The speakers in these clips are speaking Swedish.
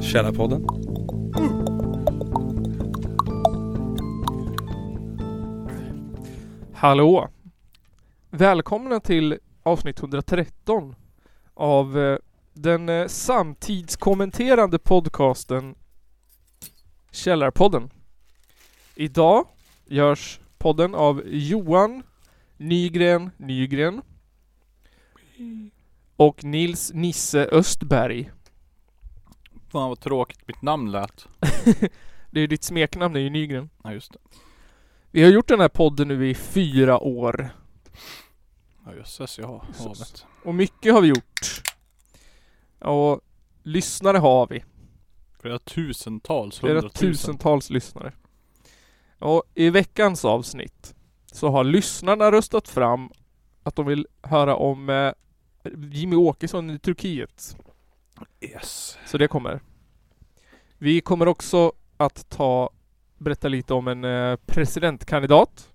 Källarpodden. Hallå! Välkomna till avsnitt 113 av eh, den eh, samtidskommenterande podcasten Källarpodden. Idag görs podden av Johan Nygren Nygren och Nils Nisse Östberg. Fan vad tråkigt mitt namn lät. Det är ditt smeknamn, det är ju Nygren. Ja just det. Vi har gjort den här podden nu i fyra år. Ja jösses, jag har Jesus. havet. Och mycket har vi gjort. Och lyssnare har vi. Flera tusentals, Flera hundratusen. tusentals lyssnare. Och i veckans avsnitt så har lyssnarna röstat fram att de vill höra om eh, Jimmy Åkesson i Turkiet. Yes. Så det kommer. Vi kommer också att ta berätta lite om en eh, presidentkandidat.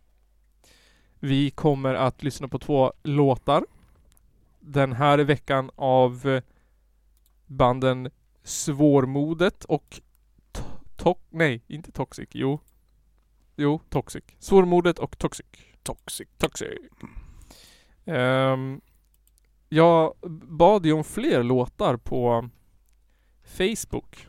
Vi kommer att lyssna på två låtar. Den här veckan av eh, banden Svårmodet och To- Tox... Nej, inte Toxic. Jo. Jo, Toxic. Svårmodet och Toxic. Toxic. Toxic. Ehm, jag bad ju om fler låtar på Facebook.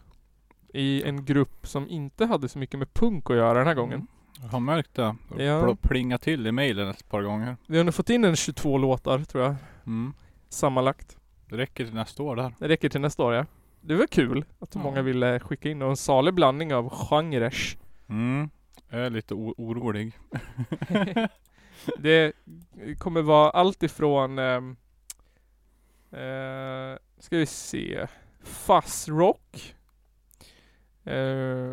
I en grupp som inte hade så mycket med punk att göra den här gången. Mm. Jag har märkt det. Det Ja. pl- plingat till i mailen ett par gånger. Vi har nu fått in en 22 låtar tror jag. Mm. Sammanlagt. Det räcker till nästa år där. Det räcker till nästa år ja. Det var kul att så Ja. många ville skicka in och en salig blandning av genrer. Mm. Jag är lite o- orolig. Det kommer vara allt ifrån ehm, eh, Ska vi se Fuzzrock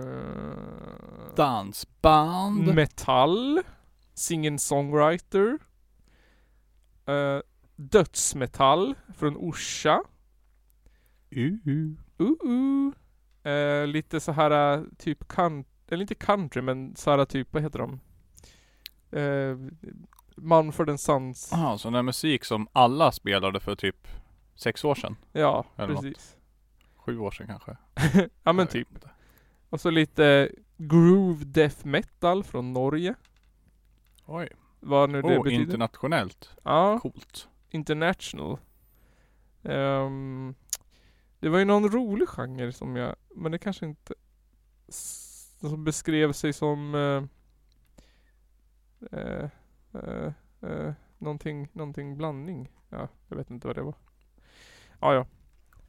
eh, Dansband. Mm. Metall Singen-songwriter eh, Dödsmetall från Orsa Uhu. uh-uh. eh, Lite så här eh, typ country, eller inte country men så här typ, vad heter de? Eh, Manford and Sons Aha, sån där musik som alla spelade för typ sex år sedan. Ja, Eller något. precis. Sju år sedan kanske. Ja men Jag typ. vet inte. Och så lite groove death metal från Norge. Oj. Vad nu det Oh, betyder. internationellt. ja, Coolt. international. Ehm, det var ju någon rolig genre som jag, men det kanske inte s- som beskrev sig som eh, eh, eh, eh, någonting, någonting blandning. Ja, jag vet inte vad det var. Ja, ja.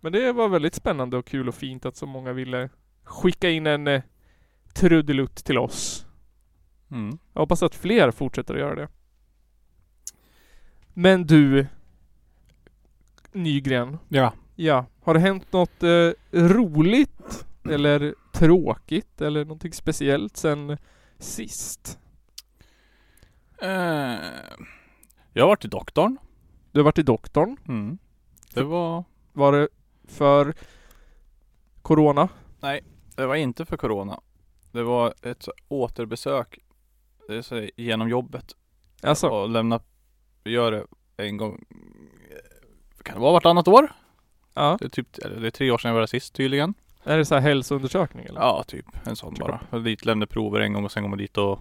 Men det var väldigt spännande och kul och fint att så många ville skicka in en eh, trudelutt till oss. Mm. Jag hoppas att fler fortsätter att göra det. Men du Nygren, Ja. ja, har det hänt något eh, roligt eller tråkigt eller någonting speciellt sen sist? Eh, jag har varit i doktorn. Du har varit i doktorn. Mm. Det var... Var det för Corona? Det var inte för Corona. Det var ett så- återbesök det är så, genom jobbet. Alltså, Och lämna... Vi gör det en gång... eh, Kan det vara vartannat år? ja. Det är, typ, eller det är tre år sedan jag var där sist tydligen. Är det så här hälsoundersökning eller? Ja, typ en sån Typ bara. Jag dit lämnade prover en gång och sen går man dit och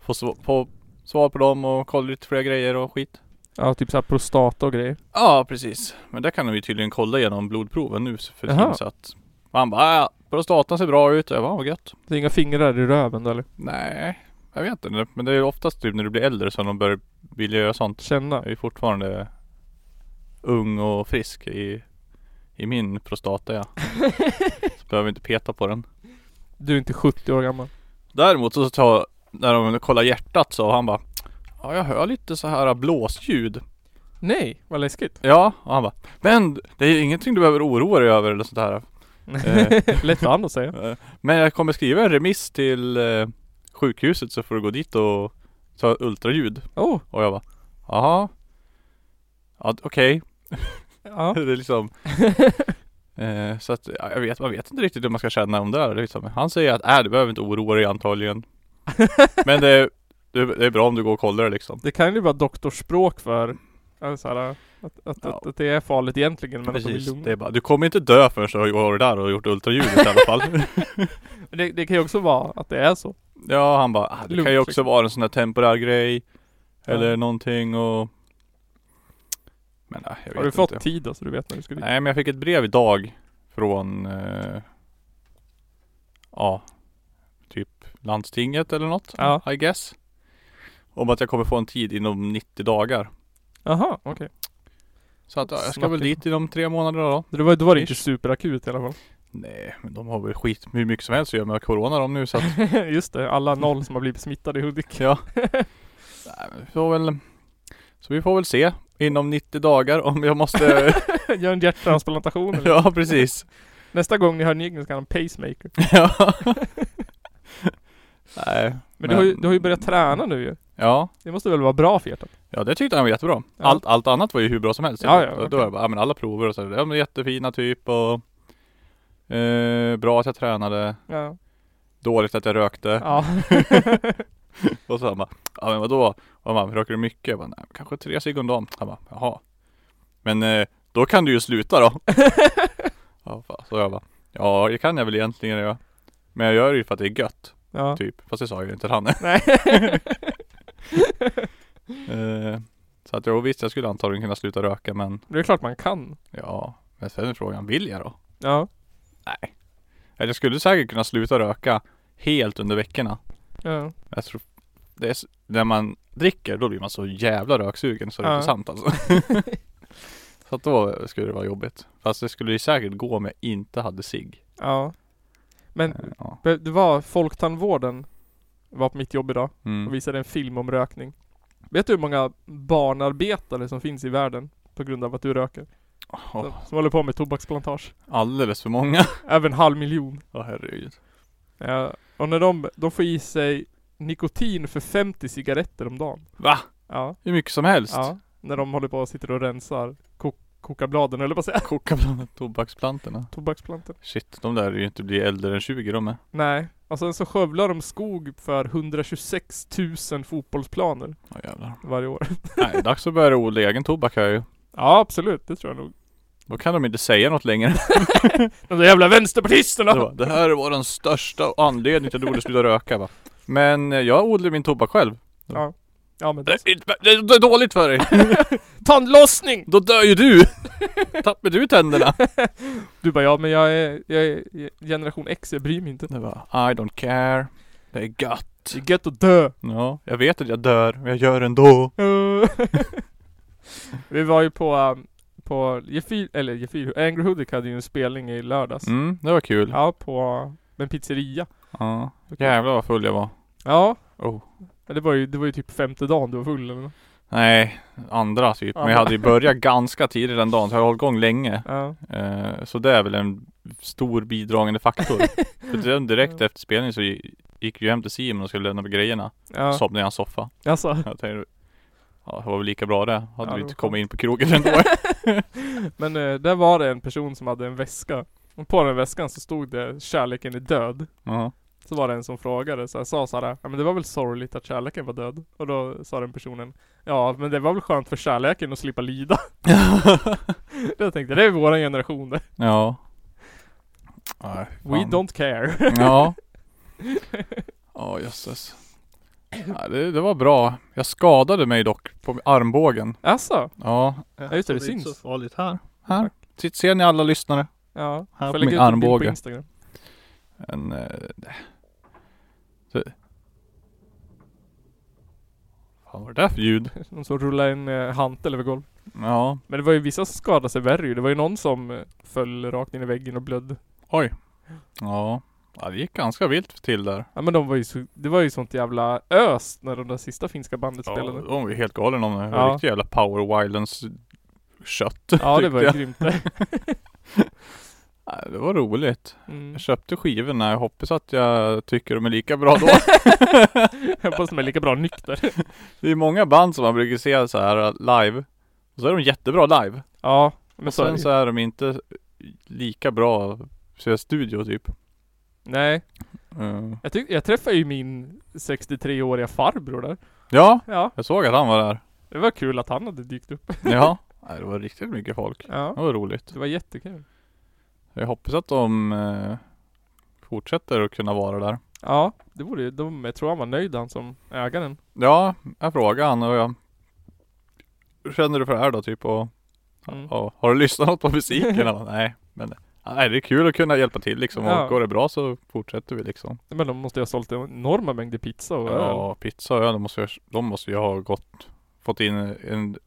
får sv- få svar på dem och kollar lite fler grejer och skit. Ja, typ så här prostata och grejer. Ja precis, men där kan de ju tydligen kolla igenom blodproven nu för Jaha. tiden så att Man bara ja, prostatan ser bra ut, jag bara vad gött Det är inga fingrar i röven då, eller? Nej, jag vet inte men det är ju oftast typ när du blir äldre som de börjar vilja göra sånt Känna? Jag är ju fortfarande ung och frisk i, i min prostata ja Så behöver vi inte peta på den Du är inte 70 år gammal. Däremot så tar, när de kollar hjärtat så han bara Ja jag hör lite så här blåsljud Nej, vad läskigt. Ja, och han bara Men det är ingenting du behöver oroa dig över eller sånt här Lätt för han att säga. Eh, Men jag kommer skriva en remiss till eh, sjukhuset så får du gå dit och ta ultraljud. Åh, Och jag bara, jaha. Ja, d- okej. ja. Det är liksom. eh, så att ja, jag vet, man vet inte riktigt hur man ska känna om det här. Det är Liksom. Han säger att, äh, du behöver inte oroa dig antagligen. Men det, är- det är det är bra om du går och kollar det liksom. Det kan ju vara doktorspråk för Ja, så här, att, att, Ja. att, att det är farligt egentligen men att de Precis, är lugna. det är bara, du kommer inte dö förrän du har varit där och gjort ultraljudet i alla fall. Men Det, det kan ju också vara att det är så. Ja, han bara, ah, det kan ju Lugnt, liksom. också vara en sån här temporär grej. Ja. Eller någonting och... Men nej, jag vet Har du inte. fått tid då så du vet när du ska dit? Nej men jag fick ett brev idag från eh, Ja Typ landstinget eller något Ja. I guess Om att jag kommer få en tid inom 90 dagar Jaha, okej. Mm. Så att ja, jag ska Snart väl liksom. dit inom tre månader då Då var, då var det inte Ish. superakut i alla fall. Nej men de har väl skit hur mycket som helst att göra med corona de nu så att Just det, alla Mm. noll som har blivit smittade i Hudik. ja Nej, men vi får väl Så vi får väl se Inom 90 dagar om jag måste Gör en hjärttransplantation eller? Ja precis Nästa gång ni hör Nygren ska han ha en pacemaker. Ja Nej Men, Du, har ju, du har ju börjat träna nu ju. Ja Det måste väl vara bra för hjärtat? Ja det tyckte han var jättebra. Ja. Allt, allt annat var ju hur bra som helst. Ja, ja, Och okej. Då var jag bara, ja men alla prover och så, ja men jättefina typ och eh, Bra att jag tränade, Ja. dåligt att jag rökte. ja. Och så han bara, ja men vadå? Och man, röker du mycket? Jag bara, nej kanske tre cigg om dagen. Han bara, jaha. Men eh, då kan du ju sluta då. ja, fan. så jag bara, ja det kan jag väl egentligen göra. Men jag gör det ju för att det är gött, ja. typ. Fast det sa jag ju inte till han. Nej. eh, så att jo visst, jag skulle antagligen kunna sluta röka men Det är klart man kan. Ja, men sen är frågan, vill jag då? Ja. Nej. Eller Jag skulle säkert kunna sluta röka helt under veckorna. ja. Jag tror, det är, s- när man dricker då blir man så jävla röksugen så det är Ja. inte sant alltså. så att då skulle det vara jobbigt. Fast det skulle ju säkert gå om jag inte hade cigg. Ja. Men Eh, Ja. be- det var Folktandvården var på mitt jobb idag och Mm. visade en film om rökning. Vet du hur många barnarbetare som finns i världen på grund av att du röker? Åh, Som, som håller på med tobaksplantage. alldeles för många. Även halv miljon. Ja herregud. Ja, och när de, de får i sig nikotin för 50 cigaretter om dagen. Va? Ja, Hur mycket som helst. ja när de håller på och sitter och rensar kok koka bladen eller vad säger jag? Koka bland tobaksplantorna. Tobaksplantor. Shit, de där är ju inte bli äldre än 20 de är. Nej, och sen så skövlar de skog för 126 000 fotbollsplaner Ja jävlar. varje år. Nej, dags att börja odla egen tobak här ju. Ja, absolut, det tror jag nog. Då kan de inte säga något längre. De där jävla vänsterpartisterna! Det, var, det här var den största anledningen till att jag borde sluta röka va. Men eh, jag odlar min tobak själv. Ja men Det det... är, inte- det är dåligt för dig. Eh, Tandlossning! Då dör ju du. Tappar du tänderna. Du bara ja men jag är, jag är generation X, jag bryr mig inte. Det var, I don't care. Det är gött. Det är gött att dö! Ja, jag vet att jag dör, men jag gör det ändå. Eh, Vi var ju på, um, på Gefil, eller Gefil, Angry Hoodic hade ju en spelning i lördags. Mm, det var kul. Ja. Ja, på en pizzeria. Jävlar vad full jag var. Ja, Oh. men det var ju, det var ju typ femte dagen du var full eller nåt. Nej, andra typ. Men jag hade ju börjat ganska tidigt den dagen, så jag har hållit igång länge. Ja. Eh, så det är väl en stor bidragande faktor. För sen direkt efter spelningen så gi- gick vi hem till Simon och skulle lämna över grejerna. Ja. Somnade i hans soffa. Alltså, Jag tänkte, ja det var väl lika bra det. Hade det vi var inte skönt. kommit in på krogen ändå. men eh, där var det en person som hade en väska. Och på den väskan så stod det 'Kärleken är död' Ja. Så var det en som frågade, så här, sa såhär, ja men det var väl sorgligt att kärleken var död? Och då sa den personen, ja men det var väl skönt för kärleken att slippa lida? jag tänkte, det är våran generation det. ja. Nej, fan. We don't care. Ja. Ja jösses. Ja, det, det var bra. Jag skadade mig dock på armbågen. alltså, Ja. Ja, just det, det Så det är inte syns. så farligt här. Här. Sitt, ser ni alla lyssnare? ja. Här Får jag på lägga min ut en bild armbåge. På Instagram. En, eh, nej. Så. Fan vad är det där för ljud? Någon som rullade en eh, hantel över golvet. Ja. Men det var ju vissa som skadade sig värre ju. Det var ju någon som eh, föll rakt in i väggen och blödde. Oj. Ja. ja. Det gick ganska vilt till där. Ja men de var ju så, det var ju sånt jävla ös när de där sista finska bandet Ja, spelade. de var ju helt galen om det. Ja. Ja. Riktigt jävla power violence kött. Ja det var ju tyckte grymt det. jag. Nej, det var roligt. Mm. Jag köpte skivorna. Jag hoppas att jag tycker de är lika bra då. Jag hoppas de är lika bra nykter. det är många band som man brukar se så här eh, live. Och så är de jättebra live. Ja. Men Och så, är det sen ju. så är de inte lika bra så studio typ. Nej. Mm. Jag, tyck, jag träffade ju min 63-åriga farbror där. Ja, Ja. jag såg att han var där. Det var kul att han hade dykt upp. Ja, Nej, det var riktigt mycket folk. Det Ja, var roligt. det var jättekul. Jag hoppas att de eh, fortsätter att kunna vara där. Ja, det vore ju de, jag tror han var nöjd han som ägaren. Ja, jag frågade han och jag Hur känner du för det här då typ och, Mm. och Har du lyssnat något på musiken? Han bara, nej men Nej det är kul att kunna hjälpa till liksom Ja. och går det bra så fortsätter vi liksom Men de måste ju ha sålt enorma mängder pizza och öl. Ja, pizza och öl, de måste, ju- de måste ju ha gått Fått in en bra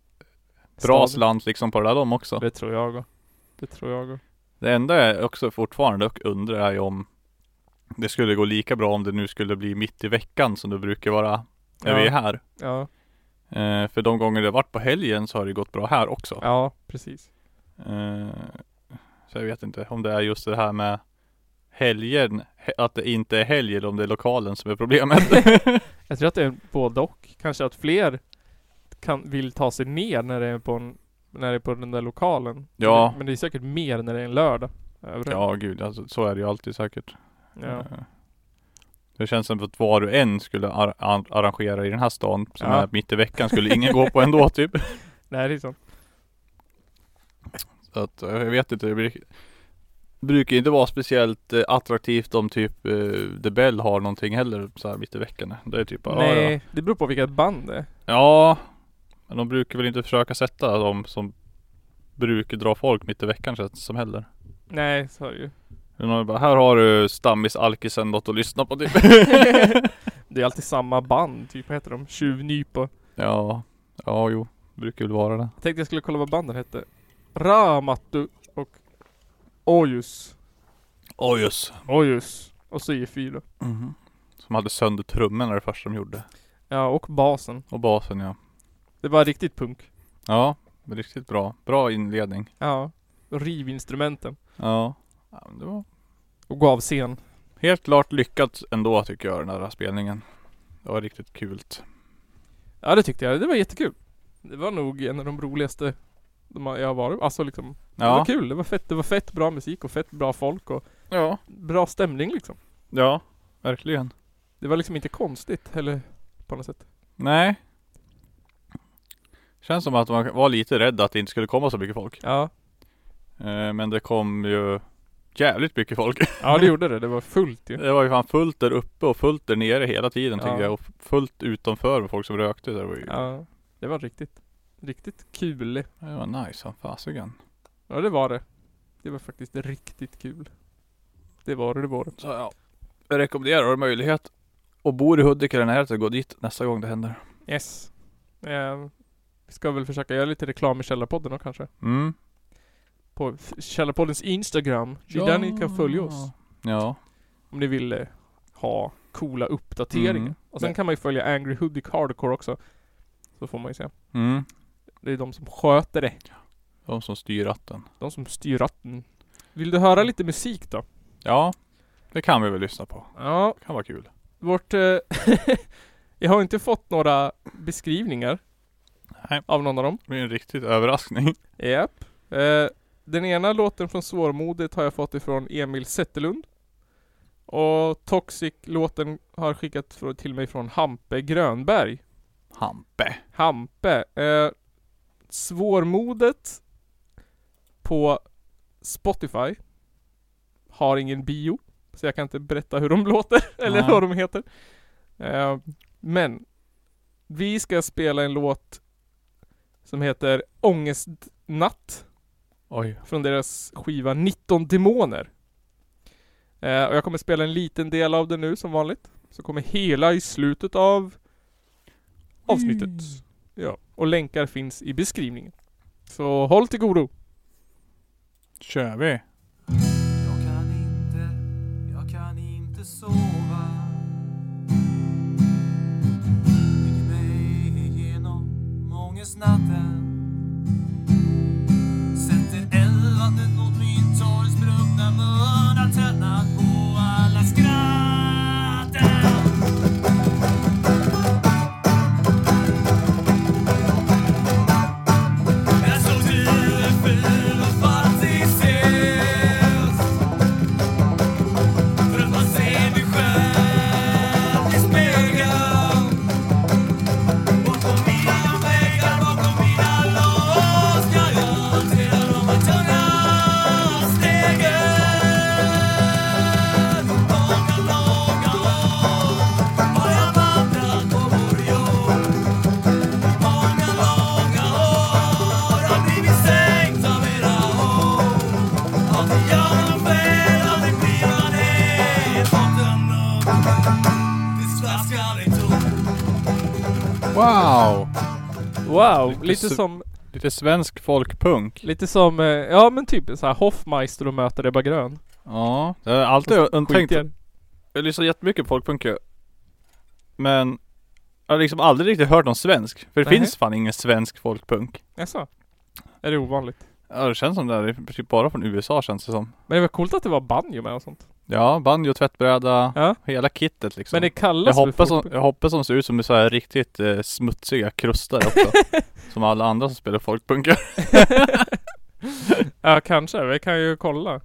Stad. slant liksom på det där de också Det tror jag och. Det tror jag och. Det enda jag också fortfarande dock undrar är ju om Det skulle gå lika bra om det nu skulle bli mitt i veckan som det brukar vara när vi är Ja, här ja, eh, För de gånger det har varit på helgen så har det gått bra här också ja, precis. Eh, Så jag vet inte om det är just det här med helgen, he- att det inte är helgen om det är lokalen som är problemet. Jag tror att det är både och. Kanske att fler kan, vill ta sig ner när det är på, en, när det är på den där lokalen. Ja. Men det är säkert mer när det är en lördag. överallt. ja gud, alltså, så är det ju alltid säkert. ja. Eh, Det känns som att vad du än skulle ar- ar- arrangera i den här stan som Ja. är mitt i veckan skulle ingen gå på ändå typ. Nej, det är liksom, sant. Så att, eh, jag vet inte, det blir, brukar inte vara speciellt eh, attraktivt om typ eh, The Bell har någonting heller så här mitt i veckan. Det är typ bara, ja, ja. Nej, det beror på vilket band det är. Ja, men de brukar väl inte försöka sätta de som brukar dra folk mitt i veckan känns det som heller. Nej, så är det ju. Men de bara, här har du stammis alkisen något att lyssna på typ. Det är alltid samma band, typ vad heter de? Tjuvnyp och... ja, ja jo, brukar väl vara det. Jag tänkte jag skulle kolla vad banden hette. Ramattu och Ojus. Oj just. Ojus. Och så IFY då. Mhm. Som hade sönder trummorna det första de gjorde. Ja, och basen. Och basen ja. Det var riktigt punk. Ja, riktigt bra. Bra inledning. Ja. Och riv instrumenten. Ja. ja men det var Och gå av scen. helt klart lyckat ändå tycker jag den här spelningen. Det var riktigt kul. Ja, det tyckte jag. Det var jättekul. Det var nog en av de roligaste de har- jag har varit Alltså liksom. Det var Ja. kul. Det var fett. Det var fett bra musik och fett bra folk och Ja. bra stämning liksom. Ja, verkligen. Det var liksom inte konstigt eller på något sätt. Nej. Känns som att man var lite rädd att det inte skulle komma så mycket folk. Ja. Eh, Men det kom ju jävligt mycket folk. Ja, det gjorde det. Det var fullt ju. Det var ju fan fullt där uppe och fullt där nere hela tiden Ja. tycker jag. Och fullt utanför med folk som rökte. Så Det var ju Ja. Det var riktigt. Riktigt kul. det var nice som fasiken. Ja det var det. Det var faktiskt riktigt kul. Det var det, det var det. Så ja, jag rekommenderar har du möjlighet och bor i Hudik eller närheten, gå dit nästa gång det händer. Yes. Eh, vi ska väl försöka göra lite reklam i Källarpodden då kanske. Mm. På f- Källarpoddens Instagram. Det är där ni kan följa oss. Ja. Om ni vill eh, ha coola uppdateringar. Mm. Och sen kan man ju följa Angry Hoodic Hardcore också. Så får man ju se. Mm. Det är de som sköter det. De som styr ratten. De som styr ratten. Vill du höra lite musik då? Ja, det kan vi väl lyssna på. Ja, Det kan vara kul. Vårt... Eh, jag har inte fått några beskrivningar Nej. av någon av dem. Det blir en riktig överraskning. Japp. Eh, den ena låten från Svårmodet har jag fått ifrån Emil Zetterlund. Och Toxic-låten har skickat frå- till mig från Hampe Grönberg. Hampe. Hampe. Eh, svårmodet på Spotify har ingen bio. Så jag kan inte berätta hur de låter eller Nej. vad de heter. Eh, men vi ska spela en låt som heter Ångestnatt Oj. från deras skiva 19 Demoner. Eh, och jag kommer spela en liten del av den nu som vanligt. Så kommer hela i slutet av avsnittet. Ja, och länkar finns i beskrivningen. Så håll till godo. Kör vi. Jag kan inte, jag kan inte sova Ligger mig igenom ångestnatten Sätter eldandet mot min torrsprungna mun Har tröttnat på alla skratten Jag såg du är ful och fantiseras För att man ser dig själv i spegeln Bortom mina väggar Wow! Wow, Lite lite, så- som, Lite svensk folkpunk. lite som, eh, ja men typ så här Hoffmeister och möter Ebba Grön. Ja, jag har alltid jag tänkt Skitiga. Jag lyssnar jättemycket på folkpunk ju. Men jag har liksom aldrig riktigt hört någon svensk. För det Nej. finns fan ingen svensk folkpunk. Jaså? Är det ovanligt? Ja det känns som det här är typ bara från USA känns det som. Men det var coolt att det var banjo med och sånt. Ja, banjo, tvättbräda, Ja. hela kittet liksom. Men det kallas jag väl hoppas, som, folkpunk? jag hoppas som ser ut som så här riktigt eh, smutsiga krustar också. som alla andra som spelar folkpunk gör. Ja kanske, vi kan ju kolla.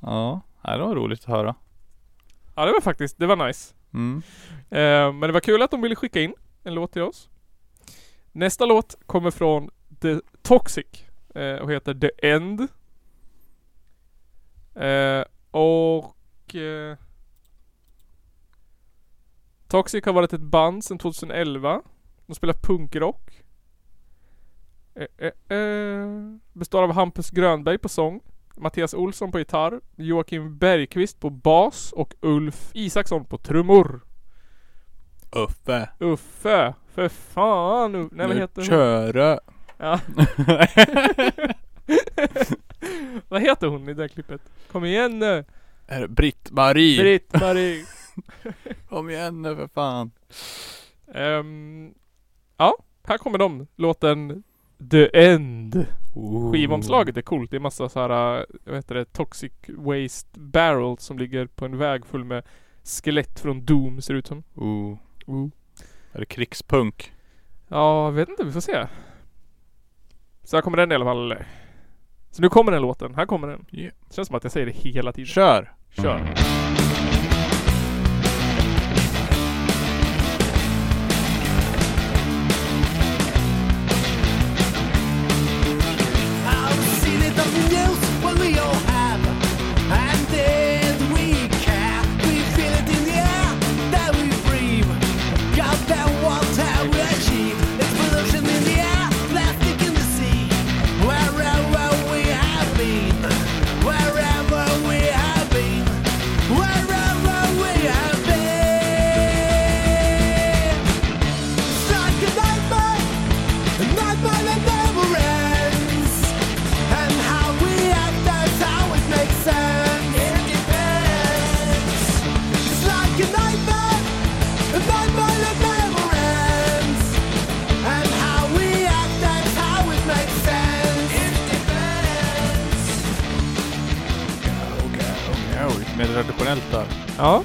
Ja, nej, det var roligt att höra. Ja det var faktiskt, det var nice. Mm. Eh, men det var kul att de ville skicka in en låt till oss. Nästa låt kommer från The Toxic eh, och heter The End. Eh, och... Eh, Toxic har varit ett band sedan 2011. De spelar punkrock. Eh, eh, eh. Består av Hampus Grönberg på sång, Mattias Olsson på gitarr, Joakim Bergqvist på bas och Ulf Isaksson på trummor. Uffe. Uffe! För fan! Uffe. Nej vad heter hon? Körö. Ja. vad heter hon i det här klippet? Kom igen nu! Är det Britt-Marie? Britt-Marie! Kom igen nu för fan. Ehm, ja, här kommer de. Låten The End. Ooh. Skivomslaget är coolt. Det är massa så här, äh, vad heter det, Toxic Waste Barrel som ligger på en väg full med skelett från Doom ser det ut som. Ooh. Oh. Är det krigspunk? Ja, jag vet inte. Vi får se. Så här kommer den i alla fall. Så nu kommer den låten. Här kommer den. Yeah. Känns som att jag säger det hela tiden. Kör! Kör. I've seen it on the news when we all have. And then we care. We feel it in the air that we breathe. God, that what have we achieved? Explosion in the air, plastic in the sea. Wherever we have been. Wherever we have been. Wherever we have been. Strike a nightmare. A nightmare that never ends. And how we act, that's how it makes sense. It depends. It's like a nightmare, a nightmare that never ends. And how we act, that's how it makes sense. It depends. Oj, mer traditionellt där. Ja.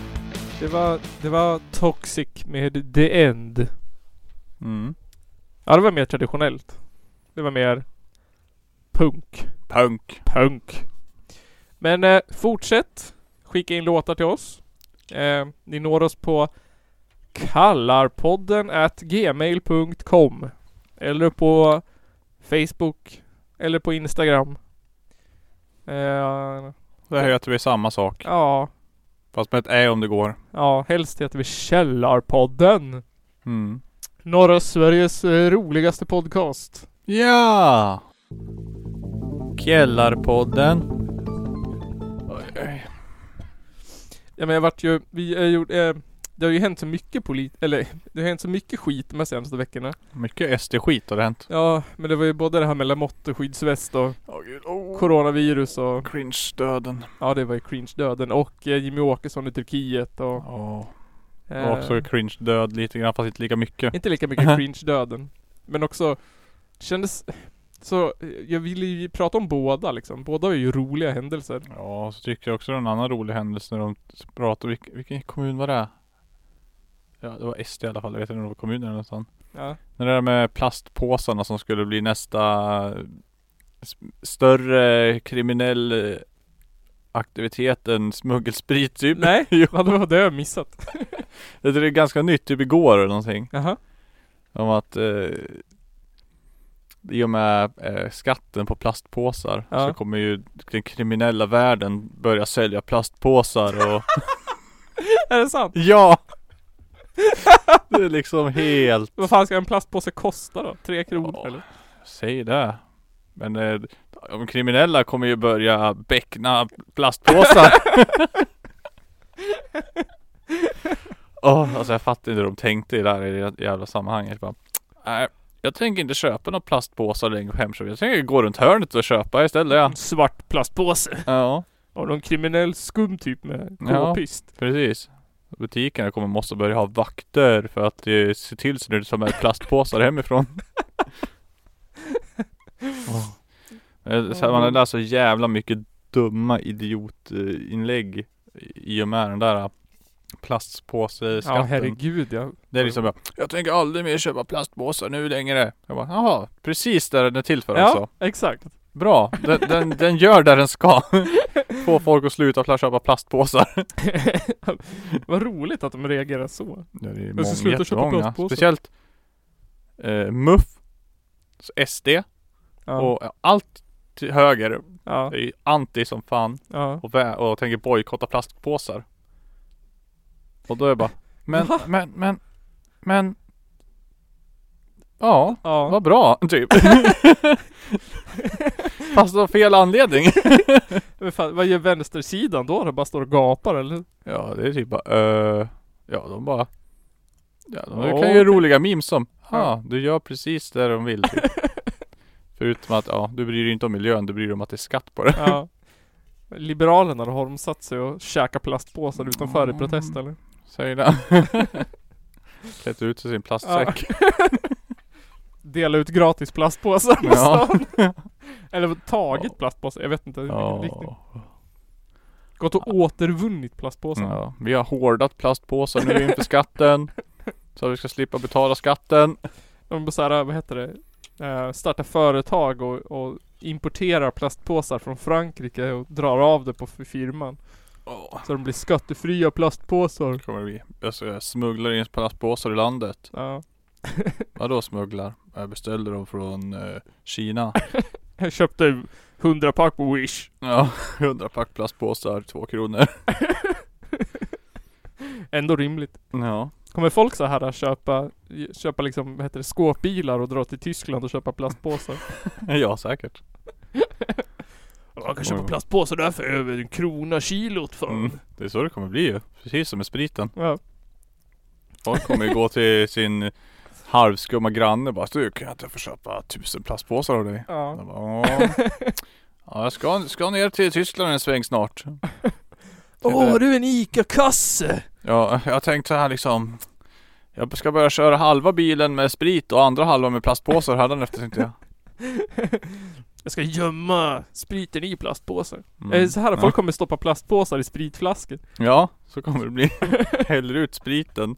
Det var, det var Toxic med The End. Mm. Ja, det var mer traditionellt. Det var mer punk. Punk. Punk. Men eh, fortsätt skicka in låtar till oss. Eh, ni når oss på kallarpodden at gmail.com Eller på Facebook eller på Instagram. Eh, Det heter vi samma sak. ja, Fast med ett ä om det går. ja, helst heter vi Källarpodden. Mm. Norra Sveriges eh, roligaste podcast. Ja! Källarpodden. Oj, oj. Ja men jag vart ju, vi eh, gjorde, eh, det har ju hänt så mycket polit, eller det har hänt så mycket skit de här senaste veckorna. Mycket SD-skit har det hänt. Ja, men det var ju både det här med Lamotte och skyddsväst och Åh gud, oh. coronavirus och Cringe-döden. ja det var ju cringe-döden och eh, Jimmy Åkesson i Turkiet och Ja. eh, Och också cringe-död lite grann fast inte lika mycket. inte lika mycket cringe-döden. Men också kändes så, eh, jag ville ju prata om båda liksom. Båda var ju roliga händelser. Ja, så tycker jag också det är en annan rolig händelse när de pratar, vilken, vilken kommun var det? Ja, det var SD i alla fall, jag vet inte om det var kommunen eller något sånt. Ja, När det där med plastpåsarna som skulle bli nästa s- större kriminell eh, aktivitet än smuggelsprit typ. Nej. jo, vad det var det har jag missat. det är ganska nytt, typ igår eller någonting. Jaha. Om att eh, i och med eh, skatten på plastpåsar Ja. så kommer ju den kriminella världen börja sälja plastpåsar och Är det sant? Ja! Det är liksom helt... Vad fan ska en plastpåse kosta då? Tre kronor Ja. eller? Säg det. Men eh, de kriminella kommer ju börja beckna plastpåsar. Åh, alltså jag fattar inte hur de tänkte i det här i det jävla sammanhanget. Bara, Nej, jag tänker inte köpa några plastpåsar längre på Hemköp. Jag tänker gå runt hörnet och köpa istället. Ja, En svart plastpåse. ja Av någon kriminell skum typ med Ja. k-pist. precis. Butikerna kommer måste börja ha vakter för att eh, se till så att du tar med plastpåsar hemifrån. oh. Man har läst så jävla mycket dumma idiotinlägg i och med den där eh, Ja, plastpåseskatten. herregud ja. Det är liksom bara, jag tänker aldrig mer köpa plastpåsar nu längre. Jag bara, jaha, precis där den är till för alltså. Ja, exakt. Bra, den, den, den gör där den ska. Få folk att sluta pla- köpa plastpåsar. Vad roligt att de reagerar så. Ja, det är många- sluta köpa jättemånga. plastpåsar. Speciellt eh, MUF, SD Ja, och allt till höger ja, är ju anti som fan ja. och, vä- och tänker bojkotta plastpåsar. Och då är jag bara, men, Va? men, men, men. Ja. ja. Vad bra, typ. Fast av fel anledning. Men fan, vad gör vänstersidan då? De bara står och gapar eller? Ja, det är typ bara, eh, ja de bara, ja de Ja, kan ju göra typ. roliga memes som, Ja. ja du gör precis det de vill. Typ. Förutom att, ja du bryr dig inte om miljön, du bryr dig om att det är skatt på det. Ja. Liberalerna, då har de satt sig och käkat plastpåsar utanför i protest eller? Säger det. Klätt ut sig i sin plastsäck. Dela ut gratis plastpåsar på Ja. stan. Eller tagit plastpåsar, jag vet inte i vilken Ja. riktning. Gått och återvunnit plastpåsar. ja. Vi har hårdat plastpåsar nu inför skatten. Så att vi ska slippa betala skatten. De bara såhär, vad heter det? Eh, startar företag och, och importerar plastpåsar från Frankrike och drar av det på f- firman. Så de blir skattefria plastpåsar. kommer det bli. Jag ska smuggla in plastpåsar i landet. Ja. Vadå smugglar? Jag beställde dem från eh, Kina. Jag köpte 100 pack på Wish. Ja, 100 pack plastpåsar, två kronor. Ändå rimligt. Ja. Kommer folk så här att köpa, köpa liksom, vad heter det, skåpbilar och dra till Tyskland och köpa plastpåsar? Ja, säkert. Man kan köpa Oj. plastpåsar där för över en krona kilot Mm. Det är så det kommer bli ju. Precis som med spriten. Ja. Folk kommer ju gå till sin halvskumma granne och bara Du, kan jag inte få köpa tusen plastpåsar av dig? ja. Jag bara, "Åh." Ja, jag ska, ska ner till Tyskland en sväng snart. Typ Åh, du är en ICA-kasse! Ja, jag har tänkt så här liksom Jag ska börja köra halva bilen med sprit och andra halva med plastpåsar hädanefter tänkte jag Jag ska gömma spriten i plastpåsar. Mm. Är det så här att folk ja. kommer stoppa plastpåsar i spritflaskor? ja, så kommer det bli Häller ut spriten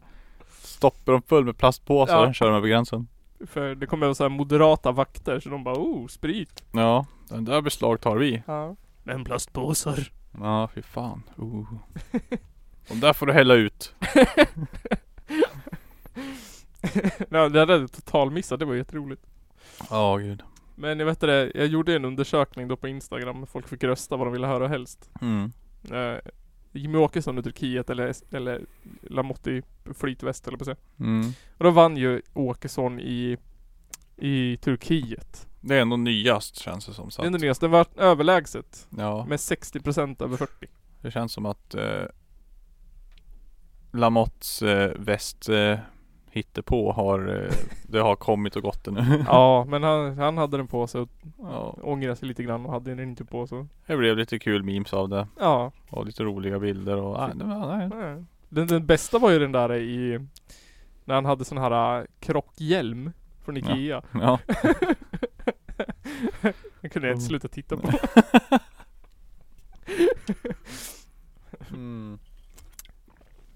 Stoppar dem full med plastpåsar, Ja. kör dem över gränsen För det kommer vara så här moderata vakter, så de bara oh, sprit. Ja, den där beslagtar vi Ja. Men plastpåsar. Ja, fy fan uh. De där får du hälla ut Nej, det hade jag totalt missat, det var jätteroligt. Ja, gud Men jag vet inte det, jag gjorde en undersökning då på Instagram, folk fick rösta vad de ville höra helst. mm. Eh, Jimmy Åkesson i Turkiet eller, eller Lamotte i flytväst eller på att säga. Mm. Och då vann ju Åkesson i, i Turkiet. Det är ändå nyast känns det som Det är sant. ändå nyast, den var överlägset. Ja, Med 60% över 40. det känns som att eh, Lamottes eh, väst eh, hittepå har eh, Det har kommit och gått nu Ja, men han, han hade den på sig och Ja. ångrade sig lite grann och hade den inte på sig. Det blev lite kul memes av det Ja, och lite roliga bilder och nej, nej, nej. nej. Den, den bästa var ju den där i... När han hade sån här äh, krockhjälm från Ja. Ikea. Ja. Mm. Den kunde jag inte sluta titta på. Mm.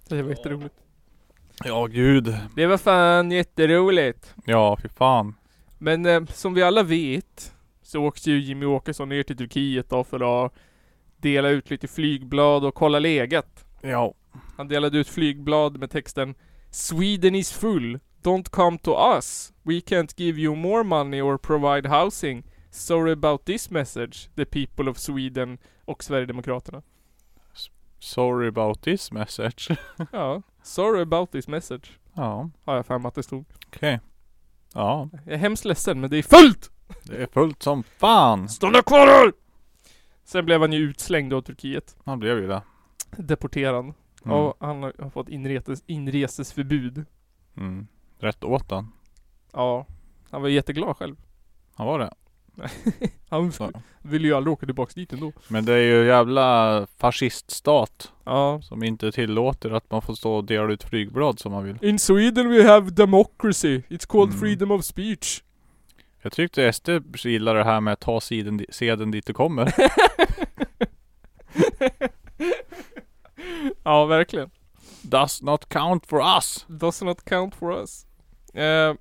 Så det var jätteroligt. ja gud. Det var fan jätteroligt. Ja fy fan. Men eh, som vi alla vet så åkte ju Jimmy Åkesson ner till Turkiet då för att dela ut lite flygblad och kolla läget. Ja. Han delade ut flygblad med texten Sweden is full. Don't come to us. We can't give you more money or provide housing. Sorry about this message. The people of Sweden och Sverigedemokraterna. Sorry about this message. Ja, sorry about this message. Ja. Har jag för mig att det stod. Okej. Ja. Jag är hemskt ledsen men det är fullt! Det är fullt som fan. Stanna kvar här! Sen blev han ju utslängd av Turkiet. Han blev ju det. Deporterad. Mm. Ja, han har har fått inreses, inresesförbud. Mm. Rätt åt han. Ja. Han var jätteglad själv. Han var det. Han Så. ville ju aldrig åka tillbaks dit ändå. Men det är ju jävla fasciststat Ja. som inte tillåter att man får stå och dela ut flygblad som man vill. In Sweden we have democracy. It's called Mm. freedom of speech. Jag tyckte SD gillade det här med att ta seden, di- seden dit du kommer. Ja, verkligen. Does not count for us! Does not count for us. Eh,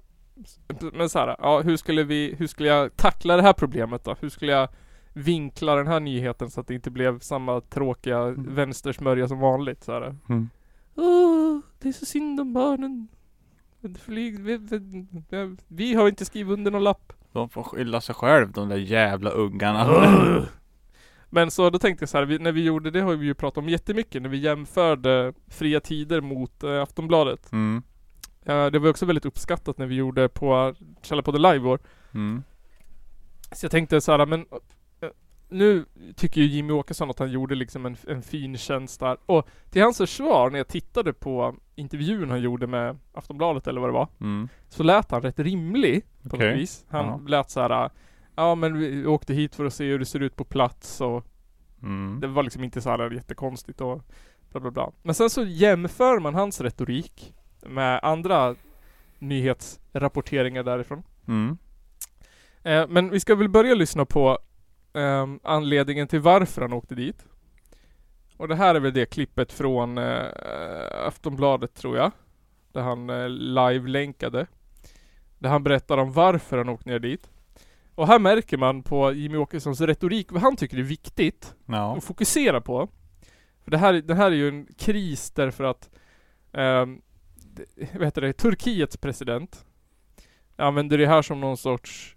men så här, ja, hur skulle vi, hur skulle jag tackla det här problemet då? Hur skulle jag vinkla den här nyheten så att det inte blev samma tråkiga vänstersmörja som vanligt så här. Åh, det är så synd om barnen. Flyg, vi, vi, vi- vi har inte skrivit under någon lapp. De får skylla sig själv, de där jävla ungarna. Men så då tänkte jag så här, vi, när vi gjorde det har vi ju pratat om jättemycket när vi jämförde Fria Tider mot eh, Aftonbladet. Mm. Eh, det var också väldigt uppskattat när vi gjorde på Källarpodden Live i år. Mm. Så jag tänkte så här, men eh, nu tycker ju Jimmy Åkesson att han gjorde liksom en, en fin tjänst där. Och till hans försvar, när jag tittade på intervjun han gjorde med Aftonbladet eller vad det var, Mm. så lät han rätt rimlig på Okej. något vis. Han Ja. lät så här, eh, ja men vi åkte hit för att se hur det ser ut på plats och Mm. det var liksom inte så här jättekonstigt och bla bla bla. Men sen så jämför man hans retorik med andra nyhetsrapporteringar därifrån. Mm. Eh, men vi ska väl börja lyssna på ehm, anledningen till varför han åkte dit. Och det här är väl det klippet från eh, Aftonbladet tror jag. Där han eh, live-länkade. Där han berättar om varför han åkte ner dit. Och här märker man på Jimmy Åkessons retorik vad han tycker är viktigt Ja. att fokusera på. För det här, det här är ju en kris därför att ehm, det- vad heter det, Turkiets president använder det här som någon sorts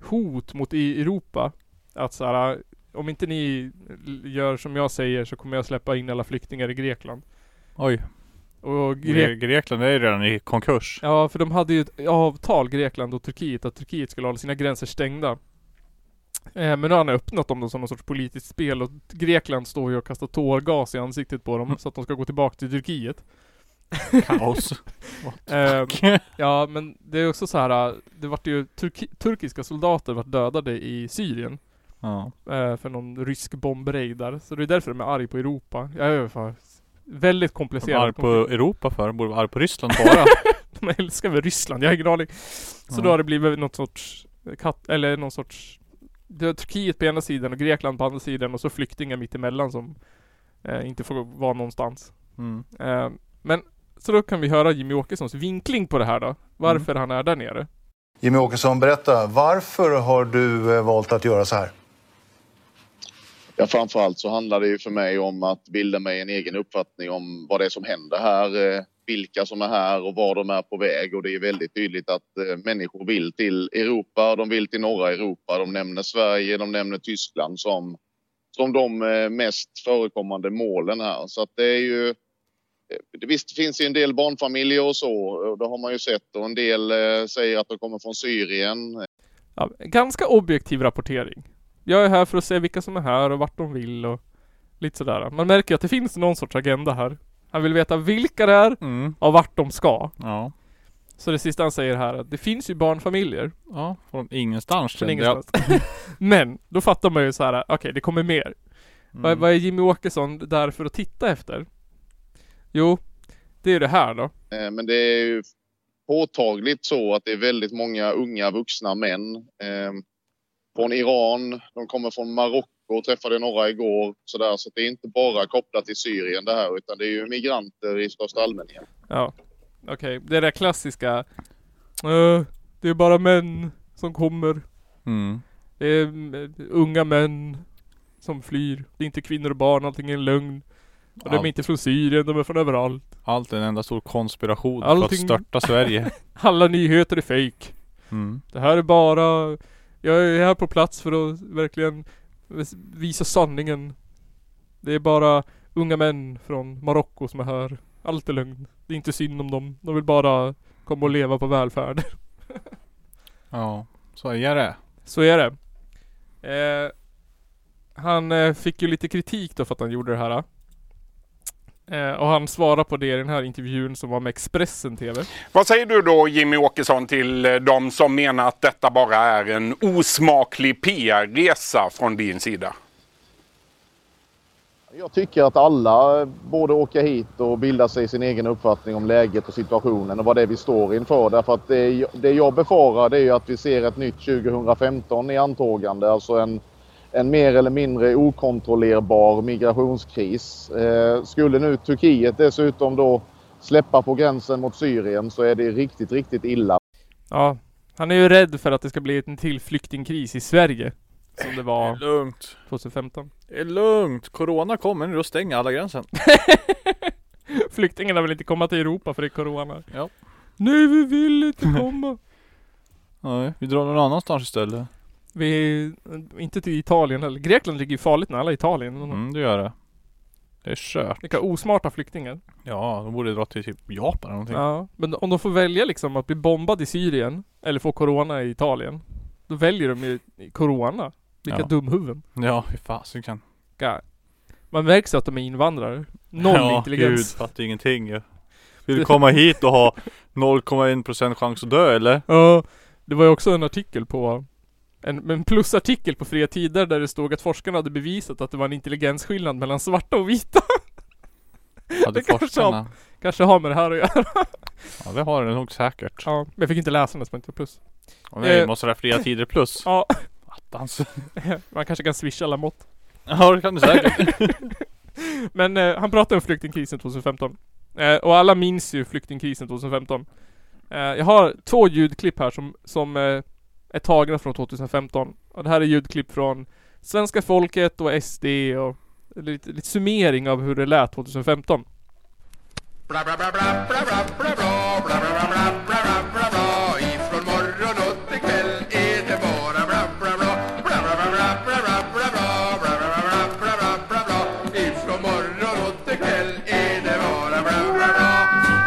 hot mot i Europa. Att så här, om inte ni l- gör som jag säger så kommer jag släppa in alla flyktingar i Grekland. Oj. Och Gre- Gre- Grekland är ju redan i konkurs. Ja, för de hade ju ett avtal, Grekland och Turkiet, att Turkiet skulle hålla sina gränser stängda. Eh, men nu har han öppnat dem då som någon sorts politiskt spel och Grekland står ju och kastar tårgas i ansiktet på Mm. dem så att de ska gå tillbaka till Turkiet. Kaos. Eh, ja, men det är också så här, eh, det vart ju turki- turkiska soldater vart dödade i Syrien. ja. eh, för någon rysk bombraid där. Så det är därför de är arg på Europa. Jag är för väldigt De är arg komplicerat. på Europa för, de borde vara arg på Ryssland bara. De älskar väl Ryssland, jag har ingen aning. Så Ja. då har det blivit något sorts katt, eller någon sorts det är Turkiet på ena sidan och Grekland på andra sidan och så flyktingar mittemellan som eh, inte får vara någonstans. Mm. Eh, men så då kan vi höra Jimmy Åkessons vinkling på det här då. Varför han är där nere. Jimmy Åkesson, berätta. Varför har du eh, valt att göra så här? Ja, framförallt så handlar det ju för mig om att bilda mig en egen uppfattning om vad det är som händer här, eh, vilka som är här och var de är på väg. Och det är väldigt tydligt att eh, människor vill till Europa, de vill till norra Europa. De nämner Sverige, de nämner Tyskland som, som de eh, mest förekommande målen här. Så att det är ju... eh, Visst, det finns ju en del barnfamiljer och så, och det har man ju sett. Och en del eh, säger att de kommer från Syrien. Ja, ganska objektiv rapportering. Jag är här för att se vilka som är här och vart de vill och lite sådär. Man märker ju att det finns någon sorts agenda här. Han vill veta vilka det är Mm. och vart de ska. Ja. Så det sista han säger här är att det finns ju barnfamiljer. Ja, från ingenstans Från kände jag. ingenstans. Men då fattar man ju så här, okej det kommer mer. Vad, Mm. vad är Jimmy Åkesson där för att titta efter? Jo, det är ju det här då. Eh, Men det är ju påtagligt så att det är väldigt många unga vuxna män eh, från Iran. De kommer från Marocko, träffade några igår. Så, där, så det är inte bara kopplat till Syrien det här utan det är ju migranter i största allmänhet. Ja. Okej, det där klassiska. "Eh, det är bara män som kommer. Mm. Det är mm, unga män som flyr. Det är inte kvinnor och barn, allting är en lögn. Och de Allt. är inte från Syrien, de är från överallt. Allt är en enda stor konspiration för Allting- att störta Sverige. Alla nyheter är fake. Mm. Det här är bara... Jag är här på plats för att verkligen visa sanningen. Det är bara unga män från Marocko som är här. Allt är lögn. Det är inte synd om dem. De vill bara komma och leva på välfärd. Ja, så är det. Så är det. Eh, han eh, fick ju lite kritik då för att han gjorde det här. Eh, och han svarar på det i den här intervjun som var med Expressen TV. Vad säger du då Jimmy Åkesson till eh, de som menar att detta bara är en osmaklig PR-resa från din sida? Jag tycker att alla eh, borde åka hit och bilda sig sin egen uppfattning om läget och situationen och vad det är vi står inför. Därför att det, jag- det jag befarar det är ju att vi ser ett nytt 2015 i antågande. Alltså en, en mer eller mindre okontrollerbar migrationskris. Eh, skulle nu Turkiet dessutom då släppa på gränsen mot Syrien så är det riktigt, riktigt illa. Ja, han är ju rädd för att det ska bli en till flyktingkris i Sverige. Som det Det är var lugnt. 2015. Det är lugnt. Corona kommer nu och stänger alla gränsen. Flyktingarna vill inte komma till Europa för det är Corona. Ja. Nej, vi vill inte komma. Nej, vi drar någon annanstans istället. vi, inte till Italien heller. Grekland ligger ju farligt nära Italien. Mm, det gör det. Det är kört. Vilka osmarta flyktingar. Ja, de borde dra till typ Japan eller någonting. Ja, men om de får välja liksom att bli bombad i Syrien eller få Corona i Italien. Då väljer de ju Corona. Vilka Ja. dumhuvuden. Ja, hur fasiken. God. Man märks ju att de är invandrare. Noll ja, intelligens. Gud, fattar ingenting ju. Vill du komma hit och ha 0,1% chans att dö eller? Ja, det var ju också en artikel på en, en plusartikel på Fria Tider där det stod att forskarna hade bevisat att det var en intelligensskillnad mellan svarta och vita. Ja, Det kanske forskarna. Kanske har med det här att göra. Ja, det har det nog säkert. Ja, men jag fick inte läsa den eftersom jag inte var plus. Och nej, Eh. måste det ha fria tider plus. Ja, Attans. man kanske kan swisha alla mått. Ja, det kan du säkert. Men eh, han pratade om flyktingkrisen 2015. Eh, och alla minns ju flyktingkrisen 2015. Eh, jag har två ljudklipp här som, som eh, är tagna från 2015. Och det här är ljudklipp från svenska folket och SD och lite, lite summering av hur det lät 2015. Bla bla bla bla bla bla bla bla bla bla bla bla bla bla bla Ifrån morgon och till kväll är det bara bla bla bla bla bla bla bla bla bla bla bla bla bla bla bla bla bla bla Ifrån morgon och till kväll är det bara bla bla bla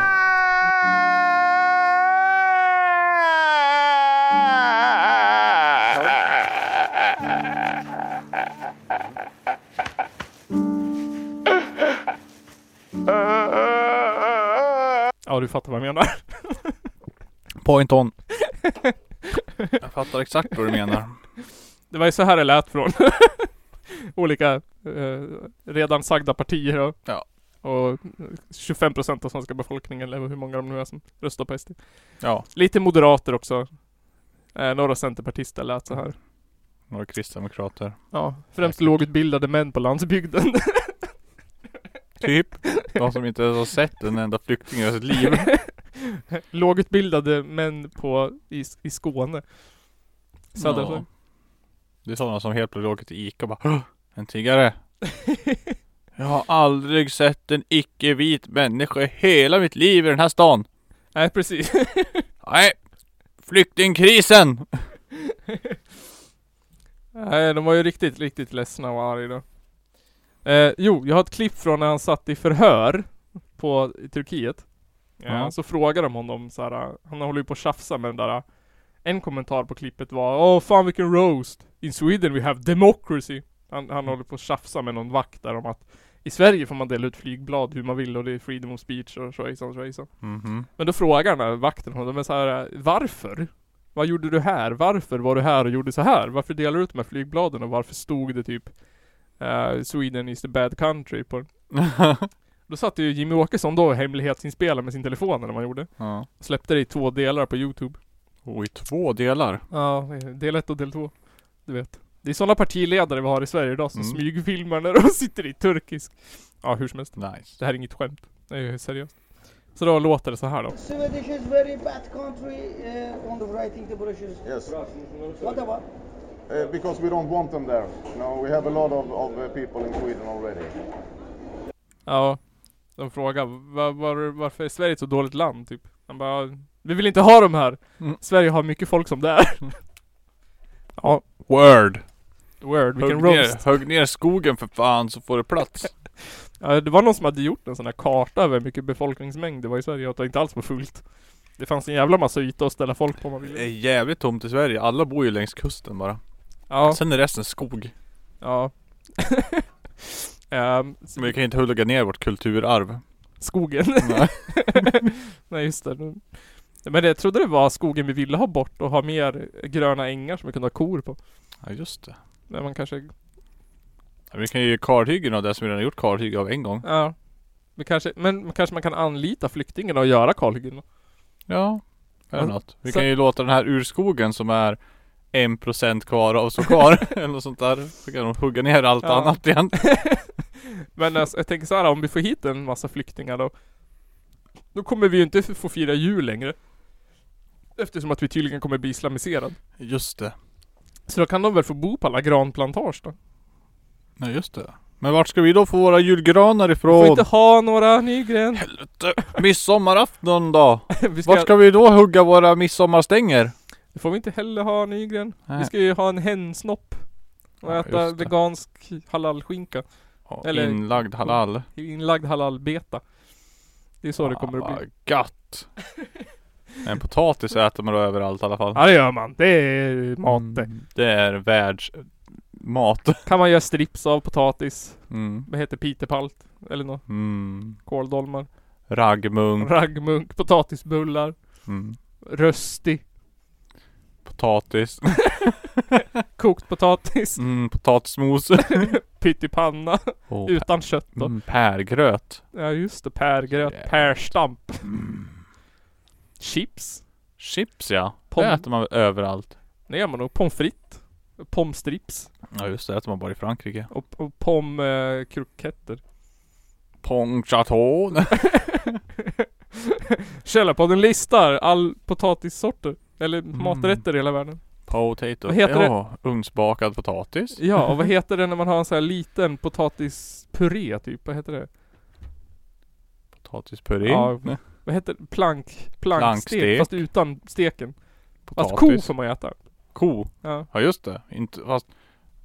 Ja, du fattar vad jag menar. Point on. Jag fattar exakt vad du menar. Det var ju så här det lät från olika eh, redan sagda partier och, Ja. och 25% av svenska befolkningen eller hur många de nu är som röstar på SD. Ja, Lite moderater också. Eh, några centerpartister lät så här. några kristdemokrater. Ja, främst lågutbildade män på landsbygden. Typ. De som inte ens har sett en enda flykting i sitt liv. lågutbildade män på, i, i Skåne. Södra Ja. Det är sådana som helt plötsligt åker till Ica och bara "Åh, En tiggare Jag har aldrig sett en icke-vit människa i hela mitt liv i den här stan Nej precis. Nej! Flyktingkrisen! Nej, de var ju riktigt, riktigt ledsna och arga då. Eh, jo, jag har ett klipp från när han satt i förhör på i Turkiet. Eh, Ja. Så frågar de honom så här. eh, han håller ju på att tjafsa med den där. eh, En kommentar på klippet var Åh fan vilken roast! In Sweden we have democracy! Han, han håller på att tjafsa med någon vakt där om att I Sverige får man dela ut flygblad hur man vill och det är freedom of speech och svejsan svejsan. Mhm Men då frågar han den här vakten honom, men så här, varför? Vad gjorde du här? Varför var du här och gjorde så här? Varför delar du ut de här flygbladen och varför stod det typ eh, Sweden is the bad country på den? Då satt ju Jimmy Åkesson då och hemlighetsinspelade med sin telefon eller vad han gjorde. ja. Släppte det i två delar på youtube. Och i två delar Ja, del ett och del två. Du vet. Det är sådana partiledare vi har i Sverige idag som Mm. smygfilmar när de sitter i turkisk. Ja, hur som helst. Nice Det här är inget skämt. Det är seriöst. Så då låter det så här då. Swedish is very bad country uh, on the writing the brochures. Yes. What about? Uh, because we don't want them there. No, we have a lot of, of uh, people in Sweden already. Ja. De frågar var, var, varför är Sverige ett så dåligt land typ? Han bara, "Ja, vi vill inte ha dem här! Mm. Sverige har mycket folk som det är. ja, Word! word, vilken Hugg ner, roast. hugg ner skogen för fan så får du plats Ja, det var någon som hade gjort en sån här karta över hur mycket befolkningsmängd det var i Sverige och att det inte alls var fullt. Det fanns en jävla massa yta att ställa folk på om man Det är ville. jävligt tomt i Sverige, alla bor ju längs kusten bara Ja, Sen är resten skog ja. Ehm, s- Men vi kan ju inte hugga ner vårt kulturarv. skogen. Nej. Nej just det. Men jag trodde det var skogen vi ville ha bort och ha mer gröna ängar som vi kunde ha kor på. Ja just det. Men man kanske, Ja, Vi kan ju göra kalhyggen av det som vi redan gjort kalhygge av en gång. ja. Men kanske, men kanske man kan anlita flyktingarna och göra kalhyggen. Ja. Eller Ja, något. Vi så- kan ju låta den här urskogen som är 1% kvar av så kvar. eller något sånt där. Så kan de hugga ner allt Ja. annat igen. Men alltså, jag tänker så här, om vi får hit en massa flyktingar då Då kommer vi ju inte få fira jul längre Eftersom att vi tydligen kommer bli islamiserad Just det. Så då kan de väl få bo på alla granplantage då? Ja just det. Men vart ska vi då få våra julgranar Får ifrån? inte ha några Nygren Midsommarafton då? vi ska, Vart ska vi då hugga våra midsommarstänger? Det får vi inte heller ha Nygren Vi Nej. ska ju ha en hensnopp Och Ja, äta just det. vegansk halalskinka Ja, Eller- Inlagd halal. Inlagd halalbeta Det är så det kommer att Ah, bli Gött! En potatis äter man då överallt i alla fall. Ja det gör man, det är mat det Mm, Det är världsmat. Kan man göra strips av potatis Mm. Vad heter pitepalt? Eller något, Mm. kåldolmar Raggmunk. Raggmunk, potatisbullar, Mm. rösti, Potatis. kokt potatis, Mm. Potatismos. pyttipanna Och pä- utan kött då. mm, pärgröt. Ja just det, pärgröt, Jävlar. pärstamp. Chips, Chips ja. Pom- Det äter man väl överallt. det gör man nog. Pommes frites, pomstrips Ja just det, det äter man bara i Frankrike. och, och pomkroketter. Eh, Pong chateau. Källarpodden listar all potatissorter. Eller Mm. maträtter i hela världen. Potato. Vad heter ja, Ugnsbakad potatis. Ja, och vad heter det när man har en sån här liten potatispuré typ? Vad heter det? Potatispuré. Ja, Vad heter det? Plank, plankstek Plankstek. fast utan steken. Fast ko Potatis. får man ju äta. Ko. Ja. Ja just det. Inte, fast,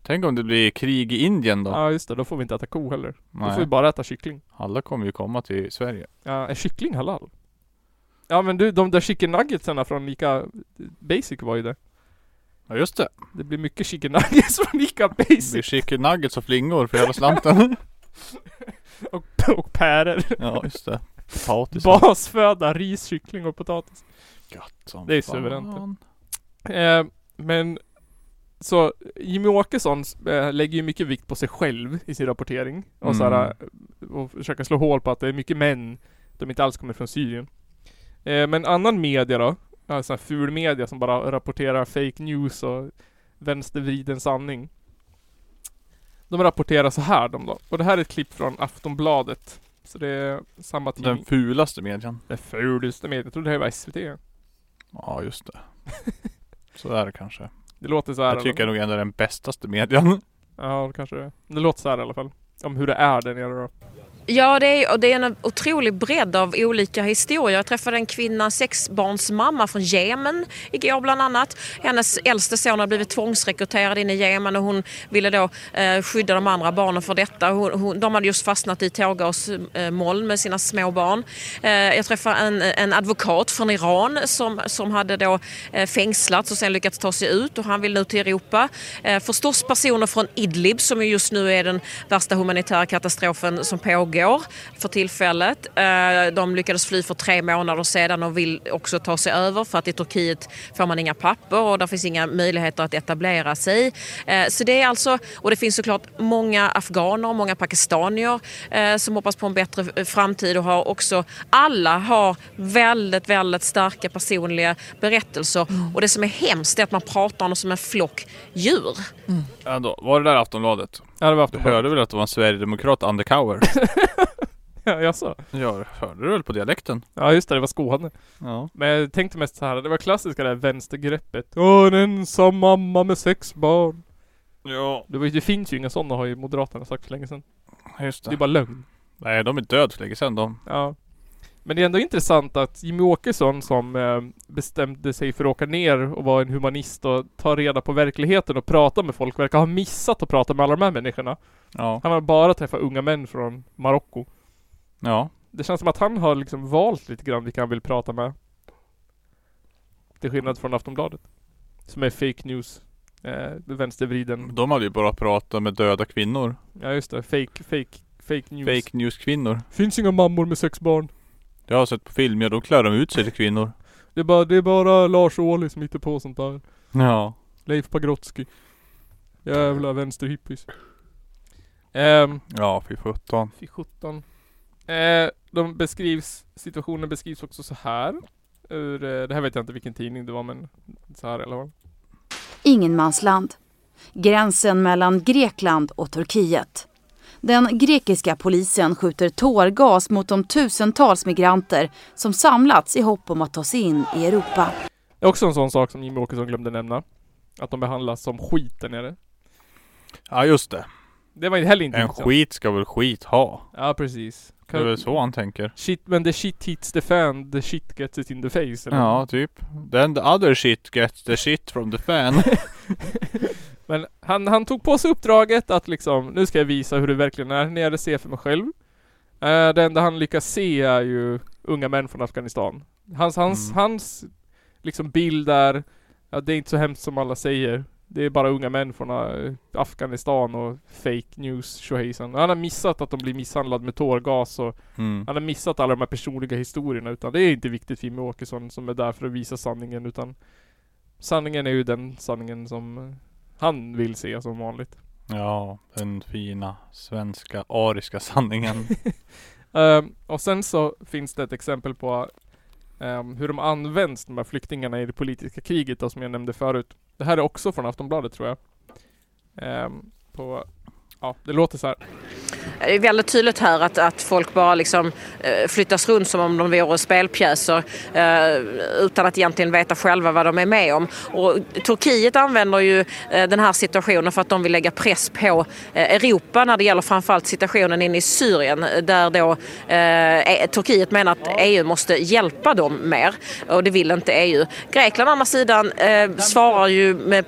tänk om det blir krig i Indien då? Ja just det, då får vi inte äta ko heller. Då får vi Nej. bara äta kyckling. Alla kommer ju komma till Sverige. Ja, är kyckling halal? Ja men du, de där chicken nuggetsarna från Ica Basic var ju det. Ja just det. Det blir mycket chicken nuggets från Ica Det blir Basic chicken nuggets och flingor för hela slanten. och, och pärer. ja just det. Potatis. Basföda, ris, kyckling och potatis. Gött som Det är fan. suveränt. Eh, men så Jimmy Åkesson eh, lägger ju mycket vikt på sig själv i sin rapportering. Och, så här, eh, och försöker slå hål på att det är mycket män. De inte alls kommer från Syrien. Eh, men annan media då. Alltså här ful media som bara rapporterar fake news och vänstervriden sanning. De rapporterar så här de då. Och det här är ett klipp från Aftonbladet. Så det är samma tidning. Den fulaste medien. Den fulaste mediet. Jag trodde det här var SVT. Ja just det. Så är det kanske. Det låter så här. Jag tycker nog ändå den bästaste medien. Ja, det kanske det är. Det låter så här i alla fall. Om hur det är där nere då. Ja, det är, och det är en otrolig bredd av olika historier. Jag träffade en kvinna, sexbarnsmamma från Jemen igår bland annat. Hennes äldste son har blivit tvångsrekryterad in i Jemen och hon ville då eh, skydda de andra barnen för detta. Hon, hon, de hade just fastnat i tårgasmoln med sina små barn. Eh, jag träffade en, en advokat från Iran som, som hade då eh, fängslats och sen lyckats ta sig ut och han vill nu till Europa. Eh, förstås personer från Idlib som ju just nu är den värsta humanitära katastrofen som pågår för tillfället. Eh, De lyckades fly för tre månader sedan och vill också ta sig över för att i Turkiet får man inga papper och där finns inga möjligheter att etablera sig. Eh, Så det är alltså, och det finns såklart många afghaner, många pakistanier eh, som hoppas på en bättre eh, framtid och har också, alla har väldigt, väldigt starka personliga berättelser och det som är hemskt är att man pratar om dem som en flock djur. Ändå, var det där Aftonbladet? Ja, det var Du Aftonbladet. hörde väl att det var en Sverigedemokrat undercover? Ja, jag sa. ja, det hörde du väl på dialekten? Ja, just det. Det var Skåne. Ja. Men jag tänkte mest så här. Det var klassiska det här vänstergreppet. Åh, en ensam mamma med sex barn. Ja, Det, var, ju- det finns ju inga sådana har ju Moderaterna sagt för länge sedan. just det. Det är bara lögn. Nej, de är död för länge sedan de. Ja. Men det är ändå intressant att Jimmy Åkesson som eh, bestämde sig för att åka ner och vara en humanist och ta reda på verkligheten och prata med folk verkar ha missat att prata med alla de här människorna. Ja. Han har bara träffat unga män från Marocko. Ja. Det känns som att han har liksom valt lite grann vilka han vill prata med. Till skillnad från Aftonbladet. Som är fake news. Eh, vänstervriden. De hade ju bara pratat med döda kvinnor. Ja just det, fake, fake, fake news. Fake news kvinnor. Finns inga mammor med sex barn. Jag har sett på film, ja då klär de ut sig till kvinnor. Det är bara, det är bara Lars Ohly som hittar på sånt där. Ja. Leif Pagrotsky. Jävla vänsterhippies. Ehm, Ja, fy sjutton. fy sjutton. Eh, de beskrivs, situationen beskrivs också så här. Ur, eh, det här vet jag inte vilken tidning det var men så här eller vad. Ingenmansland. Gränsen mellan Grekland och Turkiet. Den grekiska polisen skjuter tårgas mot de tusentals migranter som samlats i hopp om att ta sig in i Europa. Det är också en sån sak som Jimmy Åkesson glömde nämna. Att de behandlas som skit där nere. Ja just det. Det var heller inte En intressant. skit ska väl skit ha. Ja precis. Det är väl så han tänker. Shit, men the shit hits the fan, the shit gets it in the face eller? Ja, typ. Then the other shit gets the shit from the fan. Men han, han tog på sig uppdraget att liksom, nu ska jag visa hur det verkligen är när jag ser för mig själv. Eh, det enda han lyckas se är ju unga män från Afghanistan. Hans, hans, Mm. hans liksom bild är, ja, det är inte så hemskt som alla säger. Det är bara unga män från eh, Afghanistan och fake news tjohejsan. Han har missat att de blir misshandlade med tårgas och Mm. han har missat alla de här personliga historierna utan det är inte viktigt för Jimmie Åkesson som är där för att visa sanningen utan Sanningen är ju den sanningen som eh, han vill se som vanligt. Ja, den fina svenska ariska sanningen. Ehm, och sen så finns det ett exempel på ehm, hur de används, de här flyktingarna i det politiska kriget då, som jag nämnde förut. Det här är också från Aftonbladet tror jag. Ehm, på, ja det låter så här. Det är väldigt tydligt här att, att folk bara liksom, eh, flyttas runt som om de vore spelpjäser eh, utan att egentligen veta själva vad de är med om. Och Turkiet använder ju eh, den här situationen för att de vill lägga press på eh, Europa när det gäller framförallt situationen inne i Syrien eh, där då eh, eh, Turkiet menar att EU måste hjälpa dem mer och det vill inte EU. Grekland å andra sidan eh, svarar ju med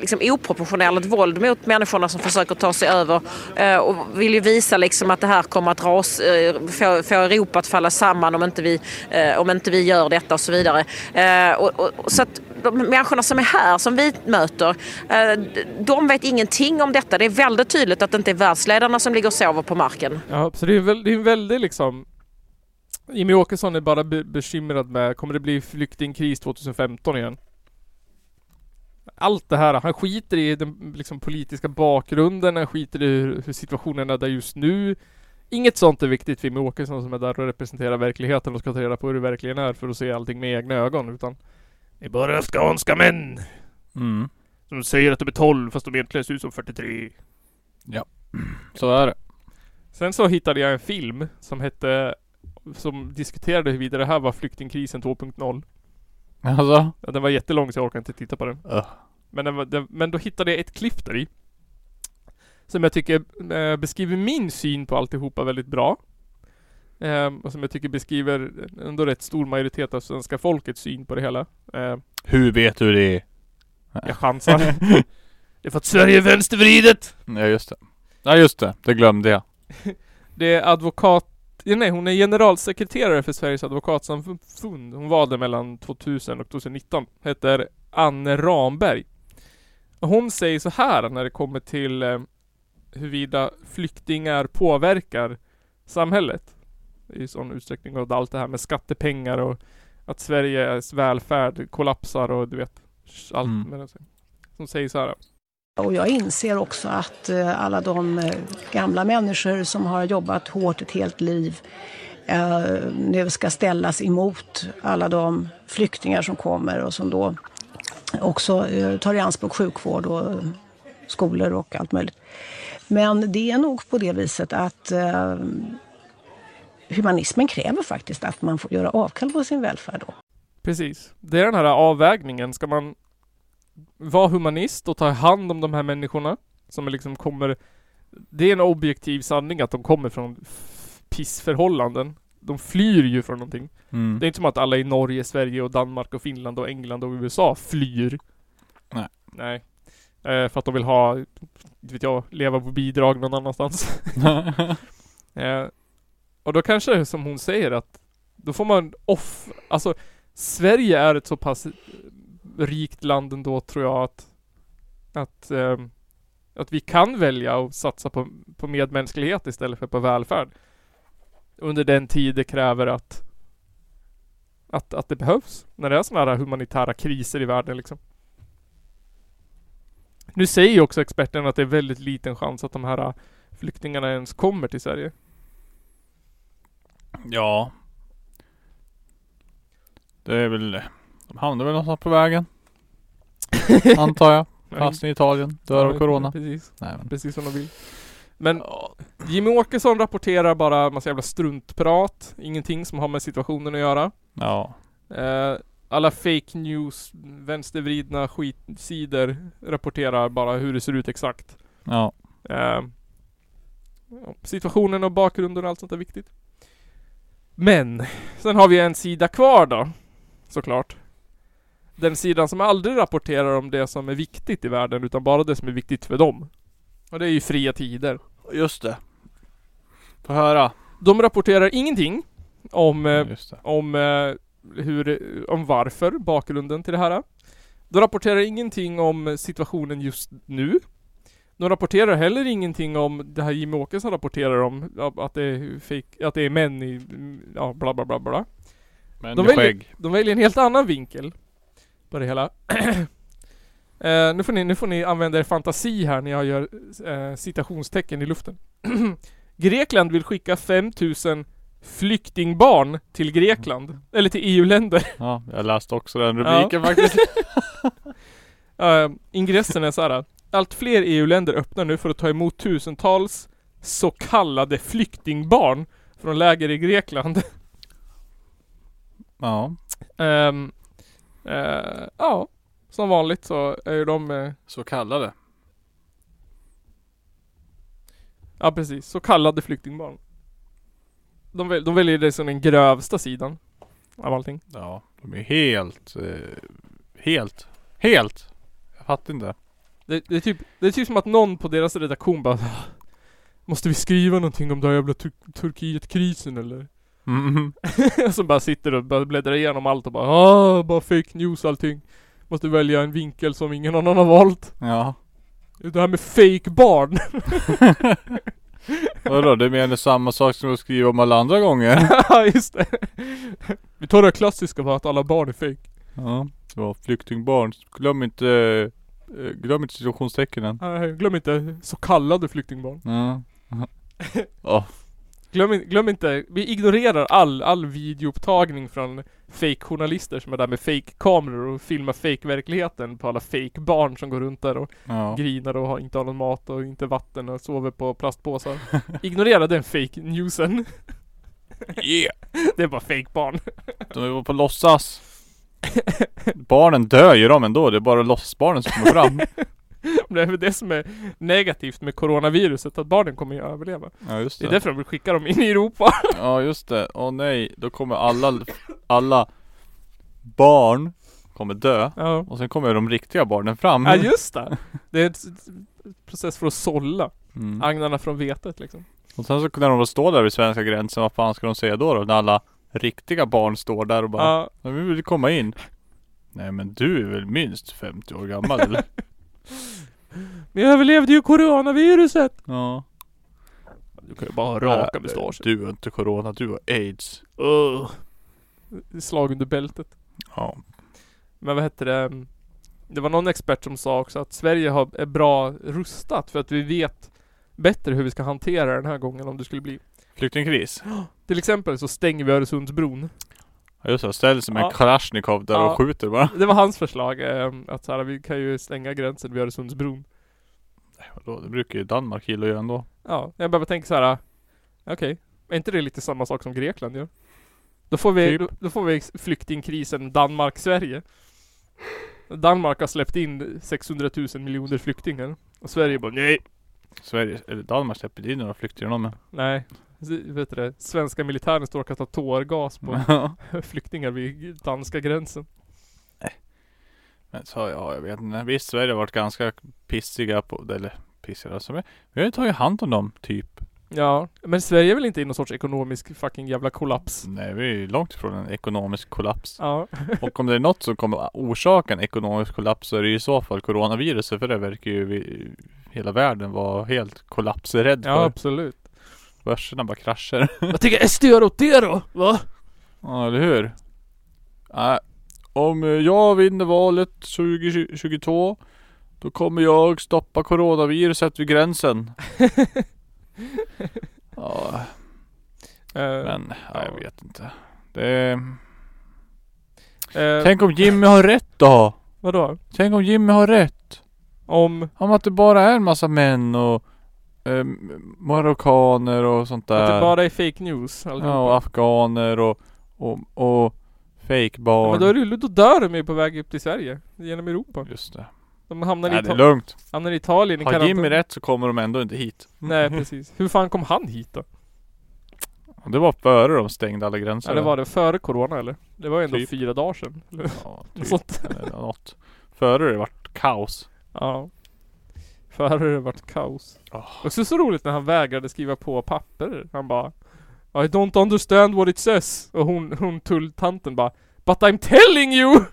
liksom oproportionerligt våld mot människorna som försöker ta sig över eh, och vill ju visa liksom att det här kommer att ras, eh, få, få Europa att falla samman om inte vi, eh, om inte vi gör detta och så vidare. Eh, och, och, och så att de människorna som är här, som vi möter, eh, de vet ingenting om detta. Det är väldigt tydligt att det inte är världsledarna som ligger och sover på marken. Ja, så det är, väl, det är en väldig liksom Jimmy Åkesson är bara be bekymrad med, kommer det bli flyktingkris 2015 igen? Allt det här, han skiter i den liksom, politiska bakgrunden, han skiter i hur, hur situationen är där just nu. Inget sånt är viktigt för Jimmy Åkesson som är där och representerar verkligheten och ska ta reda på hur det verkligen är för att se allting med egna ögon, utan Det är bara afghanska män Mm. som säger att de är 12 fast de egentligen ser ut som 43. Så är det. Sen så hittade jag en film som hette Som diskuterade huruvida det här var flyktingkrisen 2.0 Alltså? Ja, Den var jättelång så jag orkar inte titta på den Ugh. Men, den var, den, men då hittade jag ett klipp där i Som jag tycker eh, beskriver min syn på alltihopa väldigt bra Ehm, Och som jag tycker beskriver ändå rätt stor majoritet av svenska folkets syn på det hela Ehm, Hur vet du det? Jag chansar Det är för att Sverige är vänstervridet! Ja just det. Ja just det, det glömde jag. Det är advokat... ja, Nej, hon är generalsekreterare för Sveriges advokatsamfund. Hon var det mellan 2000 och 2019. Heter Anne Ramberg. Och Hon säger så här när det kommer till eh, huruvida flyktingar påverkar samhället. I sån utsträckning och allt det här med skattepengar och att Sveriges välfärd kollapsar och du vet allt Mm. med det. Hon säger så här. Och jag inser också att eh, alla de eh, gamla människor som har jobbat hårt ett helt liv eh, nu ska ställas emot alla de flyktingar som kommer och som då också eh, tar i anspråk sjukvård och eh, skolor och allt möjligt. Men det är nog på det viset att eh, humanismen kräver faktiskt att man får göra avkall på sin välfärd. Då. Precis. Det är den här avvägningen. Ska man vara humanist och ta hand om de här människorna som liksom kommer... Det är en objektiv sanning att de kommer från f- pissförhållanden. De flyr ju från någonting. Mm. Det är inte som att alla i Norge, Sverige och Danmark och Finland och England och USA flyr. Nej. Nej. Eh, för att de vill ha, inte vet jag, leva på bidrag någon annanstans. Eh, och då kanske det är som hon säger att då får man off... Alltså Sverige är ett så pass rikt land ändå tror jag att Att, ehm, att vi kan välja att satsa på, på medmänsklighet istället för på välfärd. Under den tid det kräver att, att, att det behövs. När det är sådana här humanitära kriser i världen liksom. Nu säger ju också experten att det är väldigt liten chans att de här äh, flyktingarna ens kommer till Sverige. Ja. Det är väl... De hamnar väl någonstans på vägen. Antar jag. Fastnar i Italien. Dör av Ja, corona. Precis. Nej, men. Precis som de vill. Men Jimmy Åkesson rapporterar bara massa jävla struntprat. Ingenting som har med situationen att göra. Ja. Eh, alla fake news, vänstervridna skitsidor rapporterar bara hur det ser ut exakt. Ja. Eh, ja, situationen och bakgrunden och allt sånt är viktigt. Men, sen har vi en sida kvar då. Såklart. Den sidan som aldrig rapporterar om det som är viktigt i världen utan bara det som är viktigt för dem. Och det är ju fria tider. Just det. Få höra. De rapporterar ingenting om eh, Just det. om eh, hur, eh, om varför, bakgrunden till det här. De rapporterar ingenting om situationen just nu. De rapporterar heller ingenting om det här Jimmie Åkesson rapporterar om, ja, att det är, fake, att det är män i, ja bla bla bla bla. Men De i väljer, skägg. de väljer en helt annan vinkel på det hela. eh, nu, får ni, nu får ni använda er fantasi här när jag gör eh, citationstecken i luften. Grekland vill skicka 5000 flyktingbarn till Grekland, eller till E EU-länder. Ja, jag läste också den rubriken faktiskt. Eh, ingressen är så här. Allt fler EU-länder öppnar nu för att ta emot tusentals så kallade flyktingbarn från läger i Grekland. Ja. Ehm, eh, ja, som vanligt så är ju de eh, Så kallade. Ja precis, så kallade flyktingbarn. De, väl, de väljer det som den grövsta sidan av allting. Ja. De är helt... Eh, helt. Helt. Jag fattar inte. Det, det, är typ, det är typ som att någon på deras redaktion bara "Ah, Måste vi skriva någonting om den här jävla Tur- Turkietkrisen eller? Mm. Som bara sitter och bara bläddrar igenom allt och bara ah, bara fake news allting. Måste välja en vinkel som ingen annan har valt. Ja. Det här med fake barn. Vadå, du menar samma sak som du skriver om alla andra gånger? Ja just det. Vi tar det klassiska bara att alla barn är fake. Ja, det var flyktingbarn. Glöm inte, eh, glöm inte situationstecknen. Nej, Glöm inte så kallade flyktingbarn. Ja. Ja. Glöm, in- glöm inte, vi ignorerar all, all videoupptagning från fake-journalister som är där med fake-kameror och filmar fake-verkligheten på alla fake-barn som går runt där och Ja. grinar och har, inte har någon mat och inte vatten och sover på plastpåsar. Ignorera den fake-newsen. Yeah. Det är bara fake-barn. De var på låtsas. Barnen dör ju de ändå. Det är bara låtsasbarnen som kommer fram. Det är väl det som är negativt med coronaviruset, att barnen kommer ju överleva. Ja just Det det. är därför de vill skicka dem in i Europa. Ja just det. Åh nej. Då kommer alla, alla barn kommer dö. Ja, Och sen kommer de riktiga barnen fram. ja just det. Det är en process för att sålla Mm. agnarna från vetet liksom. Och sen så när de står där vid svenska gränsen. Vad fan ska de säga då? då? När alla riktiga barn står där och bara. Ja. Men vi vill komma in. Nej men du är väl minst 50 år gammal eller? Ni överlevde ju coronaviruset! Äh, Ja. Du kan ju bara ha raka mustascher. Du har inte corona, du har aids. Slag under bältet. Ja. Men vad hette det? Det var någon expert som sa också att Sverige har, är bra rustat för att vi vet bättre hur vi ska hantera den här gången om det skulle bli. Flyktingkris. Till exempel så stänger vi Öresundsbron. Ja just det, ställ som en Ja. Kalashnikov där Ja. och skjuter bara. Det var hans förslag, eh, att så här, vi kan ju stänga gränsen vid Öresundsbron. Vadå, det brukar ju Danmark gilla att göra ändå. Ja, jag bara tänker så här. okej, är inte det lite samma sak som Grekland gör? Då får vi, Typ. då, då får vi ex- flyktingkrisen Danmark-Sverige. Danmark har släppt in 600 000 miljoner flyktingar. Och Sverige bara nej. Sverige, eller Danmark släpper inte in några flyktingar de med. Nej. Så, Vet du det? Svenska militären står och kastar tårgas på Mm. flyktingar vid danska gränsen. men så ja, jag vet inte. Visst, alltså, Sverige har varit ganska pissiga på, eller pissiga som är. Vi har ju tagit hand om dem, typ. Ja, men Sverige är väl inte i någon sorts ekonomisk fucking jävla kollaps? Nej, vi är ju långt ifrån en ekonomisk kollaps. Ja. Och om det är något som kommer orsaka en ekonomisk kollaps så är det ju i så fall coronaviruset för det verkar ju vi, hela världen vara helt kollapsrädd Ja, för. absolut. Börserna bara kraschar. Vad tycker SD gör åt det då? Va? Ja, eller hur? Nej. Om jag vinner valet 2022 Då kommer jag stoppa coronaviruset vid gränsen. ja, Eh, men ja, jag ja. vet inte. Det... eh, Tänk om Jimmy har rätt då? Vadå? Tänk om Jimmy har rätt? Om... Om att det bara är en massa män och eh, marockaner och sånt där. Att det bara är fake news allihopa. Eh. ja, och afghaner och, och, och Ja, fejkbarn. Men då är det ju, då dör de ju på väg upp till Sverige. Genom Europa. Just det. De hamnar, i, Nej, det är Ita- lugnt. hamnar i Italien i Har karantän. Jimmy rätt så kommer de ändå inte hit. Nej precis. Hur fan kom han hit då? Det var före de stängde alla gränser. Eller var det före Corona eller? Det var ju ändå Typ. fyra dagar sedan. Eller? Ja, Något typ. sånt. Eller något. Före det vart kaos. Ja. Före det vart kaos. Oh. Också så roligt när han vägrade skriva på papper. Han bara I don't understand what it says. Och hon, hon tulltanten bara But I'm telling you!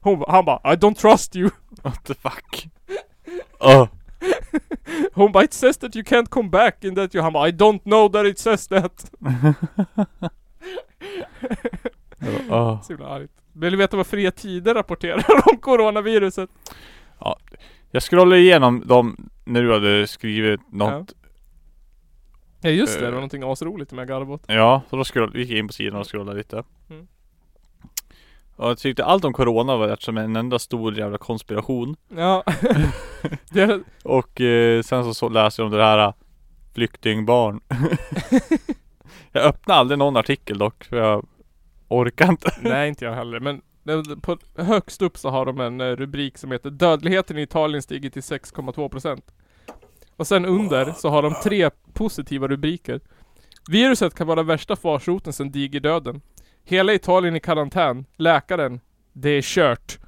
hon, ba- han bara I don't trust you. What the fuck? Oh. Hon bara It says that you can't come back in that you Han bara I don't know that it says that. Oh. Så himla argt. Vill du veta vad Fria Tider rapporterar om coronaviruset? Jag scrollade igenom dem när du hade skrivit något. Ja just det, det Eh. var någonting asroligt med garvot. Ja, så då scrollade, gick jag in på sidan och scrollade lite. Mm. Och jag tyckte allt om Corona var rätt som en enda stor jävla konspiration. Ja. det, Och eh, sen så, så läste jag om det här eh, flyktingbarn. jag öppnade aldrig någon artikel dock, för jag orkar inte. nej inte jag heller men det- på, högst upp så har de en eh, rubrik som heter Dödligheten i Italien stiger till 6,2% Och sen under så har de tre positiva rubriker Viruset kan vara värsta farsoten sedan digerdöden Hela Italien i karantän Läkaren Det är kört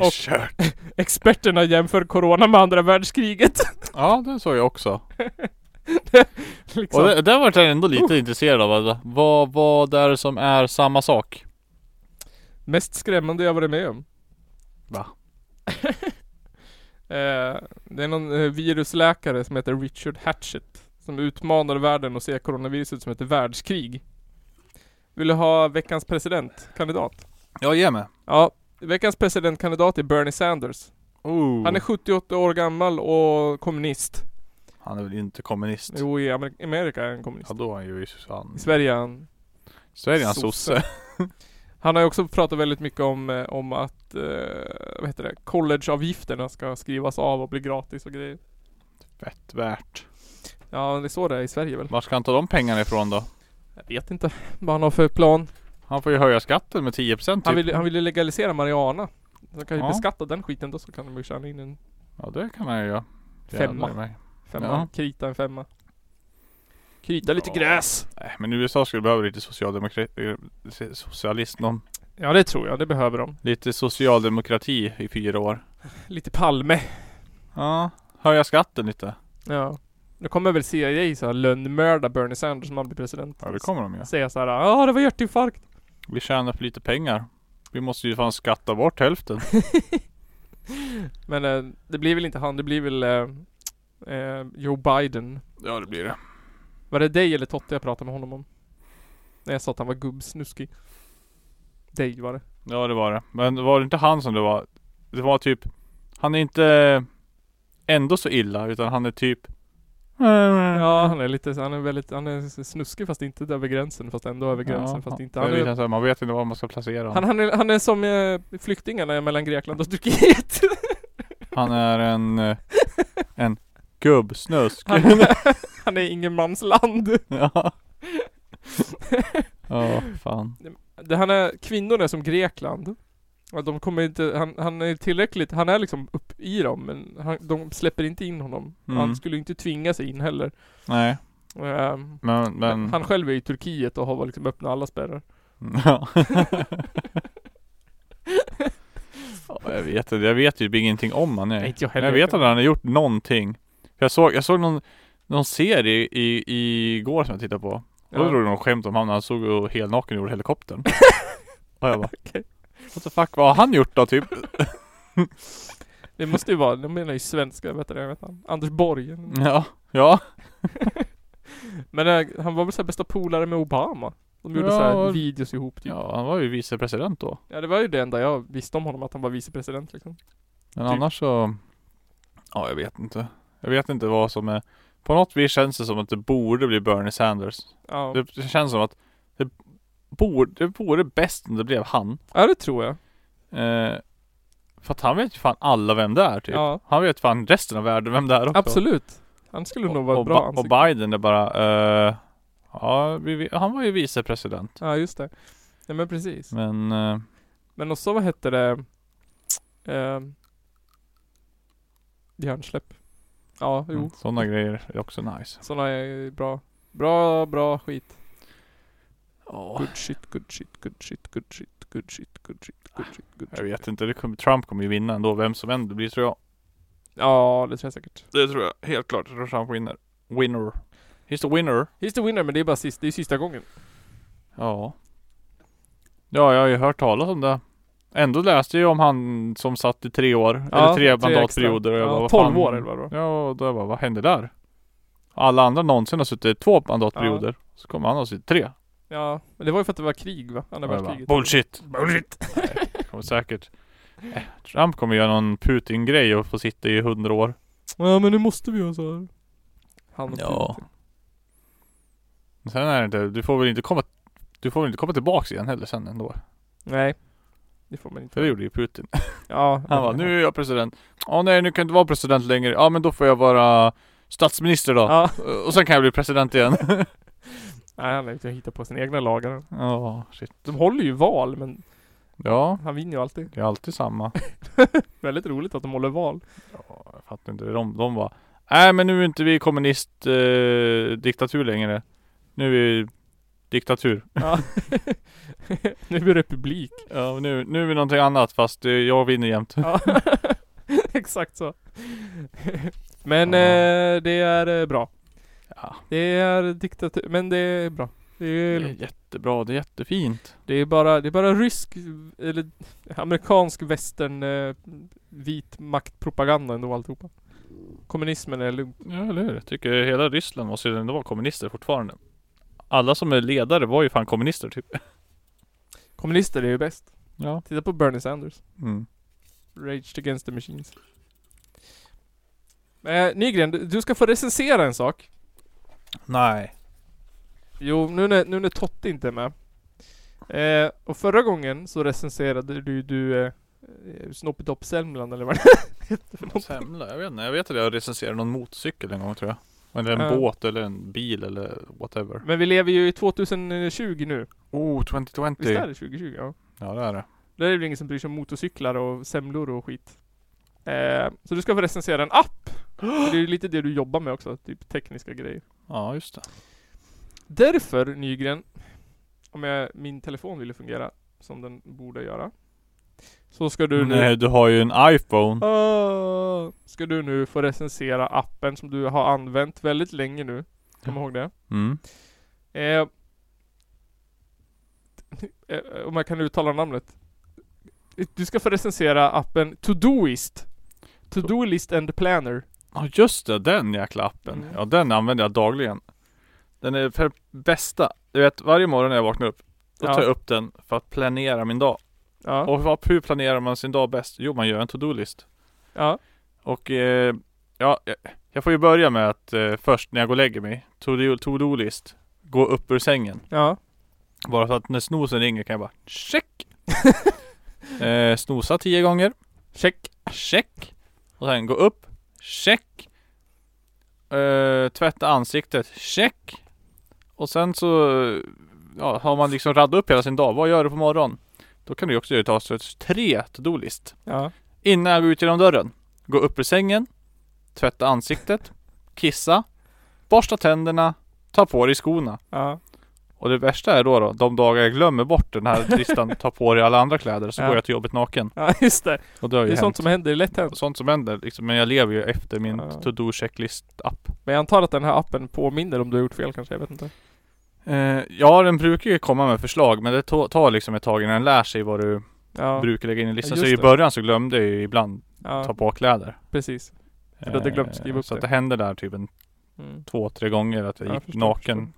Och- Kört. Experterna jämför Corona med andra världskriget Ja, det såg jag också. liksom. Och det, där vart jag ändå lite intresserad av. alltså. Vad, vad är det som är samma sak? Mest skrämmande jag varit med om Va? Eh, det är någon eh, virusläkare som heter Richard Hatchett Som utmanar världen och ser coronaviruset som ett världskrig Vill du ha veckans presidentkandidat? Ja, ge mig. Ja, veckans presidentkandidat är Bernie Sanders Oh. Han är 78 år gammal och kommunist han är väl inte kommunist? Jo, i Amer- Amerika är han kommunist Ja, då är han ju i han... I Sverige är han Sverige är han Sosse. sosse. Han har ju också pratat väldigt mycket om, eh, om att, eh, vad heter det, collegeavgifterna ska skrivas av och bli gratis och grejer Fett värt. Ja, det är så det är i Sverige väl? Var ska han ta de pengarna ifrån då? Jag vet inte vad han har för plan Han får ju höja skatten med 10% typ. Han ville han vill legalisera marijuana. De kan ju Ja. beskatta den skiten då så kan de ju tjäna in en Ja, det kan han ju göra. Jävlar Femma. i mig. femma. Ja. Krita en femma. Krita lite Ja. gräs. Nej, men USA skulle behöva lite socialdemokrati... eh, Socialist någon. Ja det tror jag, det behöver de. Lite socialdemokrati i fyra år. Lite Palme. Ja, höja skatten lite. Ja. Nu kommer väl CIA så här lönnmörda Bernie Sanders om han blir president. Ja, det kommer de ju. Säga så här, ja det var hjärtinfarkt. Vi tjänar för lite pengar. Vi måste ju fan skatta bort hälften. Men eh, det blir väl inte han, det blir väl eh, eh, Joe Biden. Ja det blir det. Var det dig eller Totte jag pratade med honom om? När jag sa att han var gubbsnuskig. Dig var det. Ja det var det. Men var det inte han som det var? Det var typ Han är inte ändå så illa utan han är typ Ja han är lite, han är väldigt, han är snuskig fast inte över gränsen fast ändå över gränsen fast inte han han är, känns så här, Man vet inte var man ska placera han, honom. han, är, han är som eh, flyktingarna mellan Grekland och Turkiet. Han är en eh, En gubbsnusk. Han, han är ingenmansland. ja. Ja fan. Det, han är, kvinnorna är som Grekland. Ja, De kommer inte, han, han är tillräckligt, han är liksom upp i dem men han, de släpper inte in honom. Mm. Han skulle inte tvinga sig in heller. Nej Ehm, men men. Han själv är i Turkiet och har liksom öppnat alla spärrar. Ja. Ja, jag vet inte, jag vet ju ingenting om han är. Nej, inte jag Men heller. jag vet att han har gjort någonting. För Jag såg, jag såg någon någon serie i, i igår som jag tittade på Och då Ja. drog de skämt om han, han såg ju helnaken ur helikoptern Och jag bara Okej. What the fuck, vad har han gjort då typ? Det måste ju vara, de menar ju svenska, vet du, jag vet inte. Anders Borg. Ja, ja Men eh, han var väl såhär bästa polare med Obama? De gjorde Ja, såhär och- videos ihop typ. Ja, han var ju vicepresident då Ja det var ju det enda jag visste om honom, att han var vicepresident liksom. Men Typ. annars så Ja, jag vet inte Jag vet inte vad som är På något vis känns det som att det borde bli Bernie Sanders Ja. Det det känns som att det borde, det vore bäst om det blev han. ja det tror jag. Eh, för att han vet ju fan alla vem det är typ. Ja. Han vet fan resten av världen vem det är också. Absolut. Han skulle nog vara och, ett bra Ba- och ansikte. Biden är bara eh, Ja, vi, vi, han var ju vicepresident. Ja just det. Ja men precis. Men eh, Men också vad hette det? Ehm... Hjärnsläpp. Ja, jo. mm, sådana grejer är också nice. Sådana är ju bra. Bra, bra skit. Ja, Good shit, good shit, good shit, good shit, good shit, good shit, good shit, good shit. jag vet inte. Det kommer, Trump kommer ju vinna ändå. Vem som än det blir tror jag. Ja, det tror jag säkert. Det tror jag. Helt klart. Jag tror Trump vinner. Winner. He's the winner. He's the winner, men det är bara sist, det är sista gången. Ja. Ja, jag har ju hört talas om det. Ändå läste jag om han som satt i tre år, eller tre extra. mandatperioder och jag bara, Ja, vad 12 fan? år eller vad det var. Ja, och då jag bara, vad hände där? Alla andra någonsin har suttit i två mandatperioder, så kommer han ha suttit tre. Ja, men det var ju för att det var krig va? Andra Och jag bara, världskriget. bullshit! Bullshit! Nej, kommer säkert. Eh, Trump kommer göra någon Putin-grej och få sitta i hundra år. Ja men nu måste vi göra så här. Han och Ja. Putin. Men Sen är det inte, du får väl inte komma, du får väl inte komma tillbaks igen heller sen ändå? Nej. Det får man inte. För det gjorde ju Putin. Ja. Han bara, nu är jag president. Ja nej nu kan jag inte vara president längre. Ja men då får jag vara statsminister då. Ja. Och sen kan jag bli president igen. Nej han har ju hittat på sina egna lagar. Ja, shit. De håller ju val men Ja, han vinner ju alltid. det är alltid samma. Väldigt roligt att de håller val. Ja, jag fattar inte. De, de bara, nej men nu är inte vi kommunistdiktatur eh, diktatur längre. Nu är vi diktatur. Ja. nu är vi republik. Ja, nu, nu är vi någonting annat fast eh, jag vinner jämt. Ja. Exakt så. men Ja. eh, det är eh, bra. Ja. Mm. Det är diktatur, men det är bra. Det Det är, är lugnt. jättebra, det är jättefint. det är bara, det är bara rysk, eller amerikansk västern, eh, vit maktpropaganda ändå alltihopa. Kommunismen är lugnt. Ja eller hur. Jag tycker hela Ryssland måste ju ändå vara kommunister fortfarande. Alla som är ledare var ju fan kommunister typ. Kommunister är ju bäst. Ja. Titta på Bernie Sanders. Mm. Raged Against the Machines. Eh, Nygren, du, du ska få recensera en sak. Nej. Jo, nu när, nu när Totte inte är med. Eh, och förra gången så recenserade du, du eh, eh, Snoppetopp Sälmland eller vad det hette för något. Semla, jag vet inte. Jag vet att jag recenserade någon motorcykel en gång tror jag. Eller en Ja. båt eller en bil eller whatever. Men vi lever ju i 2020 nu. Oh, 2020. Visst är det 2020? Ja. Ja det är det. Där är det väl ingen som bryr sig om motorcyklar och semlor och skit. Eh, så du ska få recensera en app. För det är ju lite det du jobbar med också, typ tekniska grejer. Ja just det. Därför, Nygren, om jag, min telefon ville fungera som den borde göra. Så ska du nu... Nej, du har ju en iPhone. Ah, ska du nu få recensera appen som du har använt väldigt länge nu. Kom ihåg det. Mm. Eh, eh, om jag kan uttala namnet. Du ska få recensera appen Todoist. Todoist and Planner. Ja just det, den jäkla appen. Mm. Ja den använder jag dagligen. Den är för bästa. Du vet varje morgon när jag vaknar upp. Då tar Ja. jag upp den för att planera min dag. Ja. Och vad- hur planerar man sin dag bäst? Jo man gör en to-do-list. ja. Och eh, ja, jag- jag får ju börja med att eh, först när jag går och lägger mig, to-do- to-do-list, gå upp ur sängen. Ja. Bara så att när snosen ringer kan jag bara check! eh, snosa tio gånger, Check. check! Och sen gå upp, check! Eh, tvätta ansiktet, check! Och sen så eh, ja, har man liksom raddat upp hela sin dag. Vad gör du på morgonen? Då kan du ju också göra ta tre to-do-list. Ja. Innan jag går ut genom dörren. Gå upp ur sängen. Tvätta ansiktet. Kissa. Borsta tänderna. Ta på dig skorna. Ja. Och det värsta är då, då de dagar jag glömmer bort den här listan, ta på dig alla andra kläder, så Ja. går jag till jobbet naken. Ja, just det. Och det har Det ju är hänt. sånt som händer, det är lätt hänt. Sånt som händer liksom, men jag lever ju efter min Ja. to-do checklist app. Men jag antar att den här appen påminner om du har gjort fel kanske, jag vet inte. Eh, ja, den brukar ju komma med förslag men det to- tar liksom ett tag innan den lär sig vad du Ja. brukar lägga in i listan. Ja, så just det. i början så glömde jag ju ibland Ja. ta på kläder. Precis. För du hade Eh, glömt skriva upp Så att det. det hände där typ en Mm. två, tre gånger att jag Ja, gick förstår, naken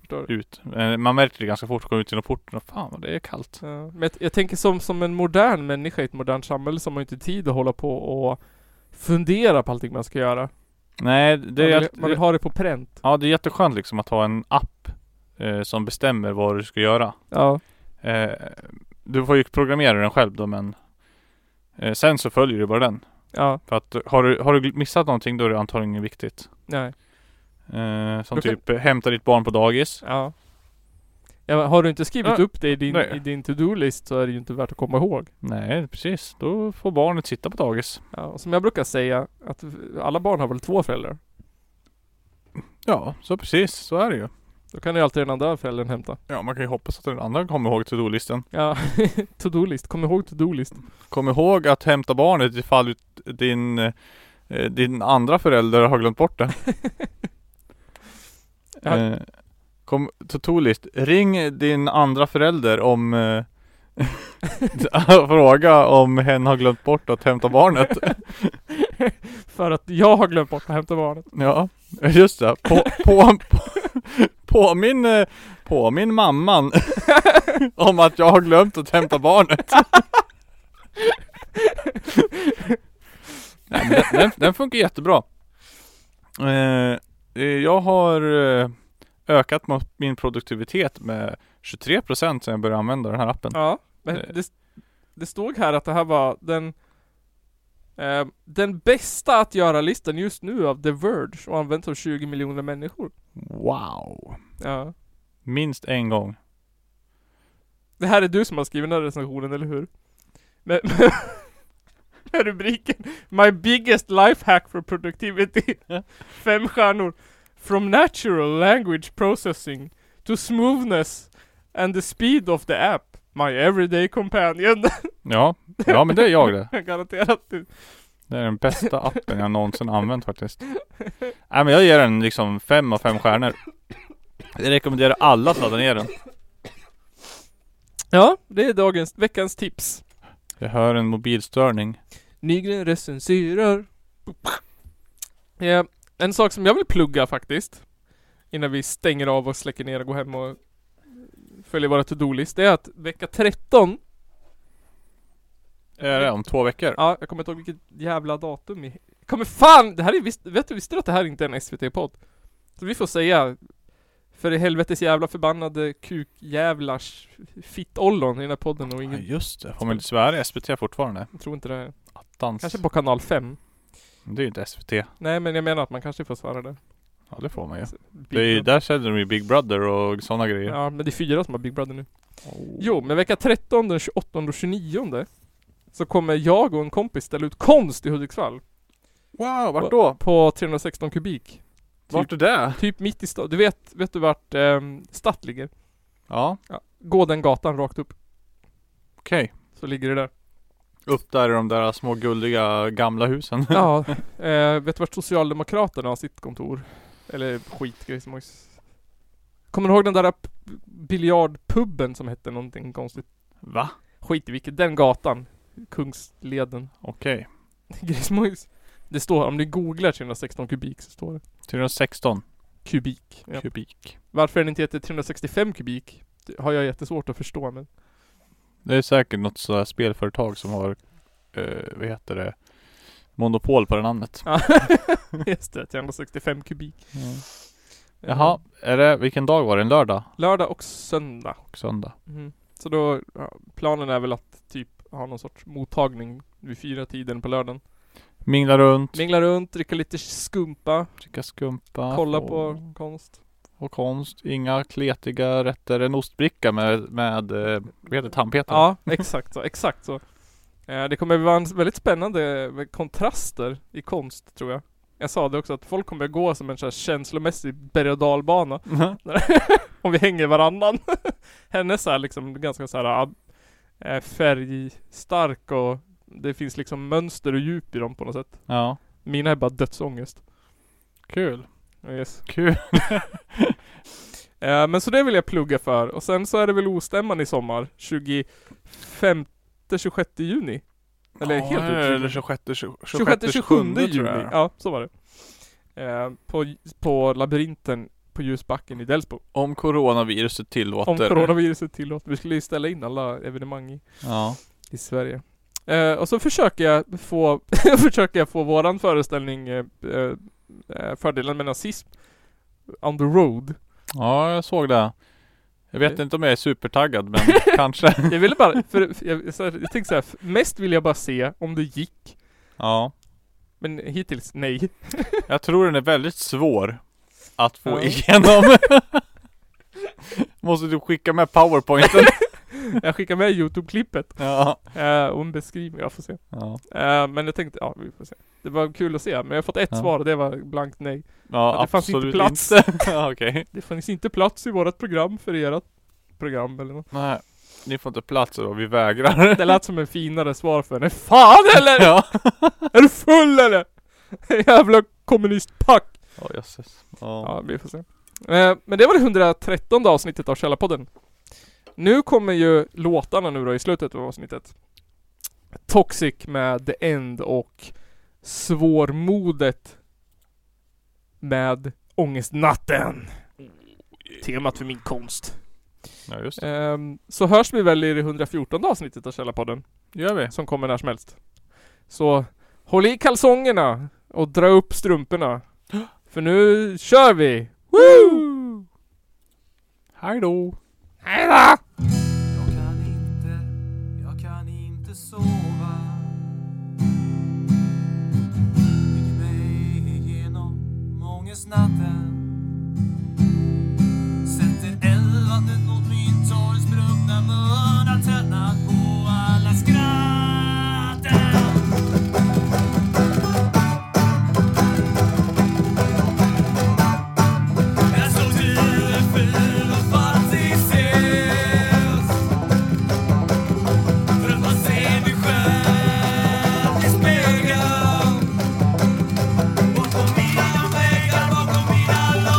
Förstår. ut. Eh, man märkte det ganska fort, kom ut genom porten och fan vad det är kallt. Ja, men jag, jag tänker som, som en modern människa i ett modernt samhälle som har ju inte tid att hålla på och fundera på allting man ska göra. Nej, det man, är vill, man vill ha det på pränt. Ja, det är jätteskönt liksom att ha en app eh, som bestämmer vad du ska göra. Ja. Eh, du får ju programmera den själv då men eh, sen så följer du bara den. Ja, För att har du, har du missat någonting då är det antagligen viktigt. nej. Eh, som Du kan- typ eh, hämta ditt barn på dagis. Ja. ja har du inte skrivit Ja, upp det i din, nej. i din to-do-list så är det ju inte värt att komma ihåg. Nej, precis. Då får barnet sitta på dagis. Ja, och som jag brukar säga, att alla barn har väl två föräldrar? Ja, så precis. Så är det ju. Då kan ju alltid den andra föräldern hämta. Ja, man kan ju hoppas att den andra kommer ihåg to-do-listen. Ja, to-do-list. Kom ihåg to-do-list. Kom ihåg att hämta barnet ifall ut- din, eh, din andra förälder har glömt bort det. Ja. eh, kom, to-do-list. Ring din andra förälder om eh, Fråga om hen har glömt bort att hämta barnet. För att jag har glömt bort att hämta barnet. Ja, just det. På, på, på, påminn, eh, påminn mamman om att jag har glömt att hämta barnet. Nej, men den- den, den funkar jättebra. Eh, eh, jag har eh, ökat mo- min produktivitet med 23% sedan jag började använda den här appen. Ja, men det, det stod här att det här var den eh, den bästa att göra-listan just nu av The Verge och används av 20 miljoner människor. Wow! Ja. Minst en gång. Det här är du som har skrivit den här recensionen, eller hur? Men, med rubriken My biggest lifehack for productivity. Fem stjärnor. From natural language processing to smoothness and the speed of the app. My everyday companion. Ja, ja men det är jag det. Garanterat du. Det är den bästa appen jag någonsin använt faktiskt. Nej men jag ger den liksom fem av fem stjärnor. Jag rekommenderar alla att ladda ner den. Ja, det är dagens, veckans tips. Jag hör en mobilstörning. Nygren recenserar. Eh, en sak som jag vill plugga faktiskt. Innan vi stänger av och släcker ner och går hem och följer våra to-do-list. Det är att vecka 13. Är det om två veckor? Ja, jag kommer inte ihåg vilket jävla datum i... Kommer fan! Det här är visst, vet du, visste du att det här inte är en SVT-podd? Så vi får säga. För i helvetes jävla förbannade kukjävlars fittollon i den här podden och Ja, ingen just det. Får man inte svära i SVT fortfarande? tror inte det. här. Attans. Kanske på kanal 5. Det är ju inte SVT. Nej men jag menar att man kanske får svara det. Ja det får man ju. Så, Det är, ju- Big där säljer de ju Big Brother och sådana grejer. Brother. Ja men det är fyra som har Big Brother nu. Jo men vecka 13, den 28 och 29 så kommer jag och en kompis ställa ut konst i Hudiksvall. Wow, vart då? På 316 kubik. Vart är det? Typ mitt i stan. Du vet, vet du vart um, Statt ligger? Ja, Gå den gatan rakt upp. okej. Så ligger det där. Upp där i de där små gulliga gamla husen. Ja. eh, vet du vart Socialdemokraterna har sitt kontor? Eller skit, grejsimojs. Kommer du ihåg den där p- biljardpubben som hette någonting konstigt? Va? Skit i vilket. Den gatan. Kungsleden. Okej. Grismojs. Det står, om ni googlar 316 kubik så står det 316 kubik. Ja. kubik. Varför den inte heter 365 kubik det har jag jättesvårt att förstå men Det är säkert något sådär spelföretag som har, eh, vad heter det, monopol på det namnet. Ja. Just det, 365 kubik. Jaha, är det, vilken dag var det? En lördag Lördag och söndag. och söndag? Mm. Så då, ja, planen är väl att typ ha någon sorts mottagning vid fyra tiden på lördagen. Mingla runt, Mingla runt, dricka lite skumpa, dricka skumpa kolla och, på konst. och konst. Inga kletiga rätter. En ostbricka med, med eh, vad heter det, tandpetare? Ja, exakt så, exakt så. Eh, Det kommer vara en väldigt spännande kontraster i konst tror jag. Jag sa det också att folk kommer gå som en sån här känslomässig berg och dalbana. Mhm. Om vi hänger varannan. Hennes är liksom ganska så här äh, färgstark och det finns liksom mönster och djup i dem på något sätt. ja. Mina är bara dödsångest. Kul. Yes. Kul. Eh, Men så det vill jag plugga för. Och sen så är det väl ostämman i sommar. 25-26 juni. Eller Ja, helt ut. Eller 26, 26 27 tror juni. jag. Ja, så var det. Eh, På, på labyrinten på ljusbacken i Delsbo. Om coronaviruset tillåter. Om coronaviruset tillåter. Vi skulle ju ställa in alla evenemang i, Ja. i Sverige. Eh, och så försöker jag få, försöker jag få våran föreställning eh, eh, eh, Fördelen med nazism On the road. ja, jag såg det. Jag vet inte om jag är supertaggad men kanske. Jag ville bara, för, för jag, så här, jag tänkte såhär, mest vill jag bara se om det gick. Ja. Men hittills, nej. Jag tror den är väldigt svår att få Ja. igenom. Måste du skicka med powerpointen? Jag skickar med Youtube-klippet Ja. eh, och en beskrivning, jag får se. Ja. Eh, men jag tänkte, ja vi får se. Det var kul att se, men jag har fått ett Ja. svar och det var blankt nej. Ja, det fanns absolut inte plats. inte. ja, okej. Det fanns inte plats i vårt program för ert program eller något. Nej. Ni får inte plats och vi vägrar. Det lät som en finare svar för nej fan eller! Ja. Är du full eller? Jävla kommunistpack! Ja, jösses. Ja. Ja, vi får se. Eh, Men det var det 113 avsnittet av Källarpodden. Nu kommer ju låtarna nu då i slutet av avsnittet. Toxic med The End och Svårmodet med Ångestnatten. Temat för min konst. ja, just det. Ehm, Så hörs vi väl i det 114 avsnittet av Källarpodden gör vi. som kommer när som helst. Så håll i kalsongerna och dra upp strumporna. För nu kör vi! Woo! Hej då. Jag kan inte, jag kan inte sova. Ligger mig igenom ångestnatten. Sätter elvandet mot min torrsprungna mun. Har tröttnat på alla skratten. Jag slog till en fil och fanns i ses För att man ser mig själv i spegeln Bortom mina väggar, bakom mina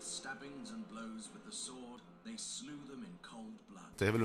stabbings and blows with the sword, they slew them in cold blood. Det är väl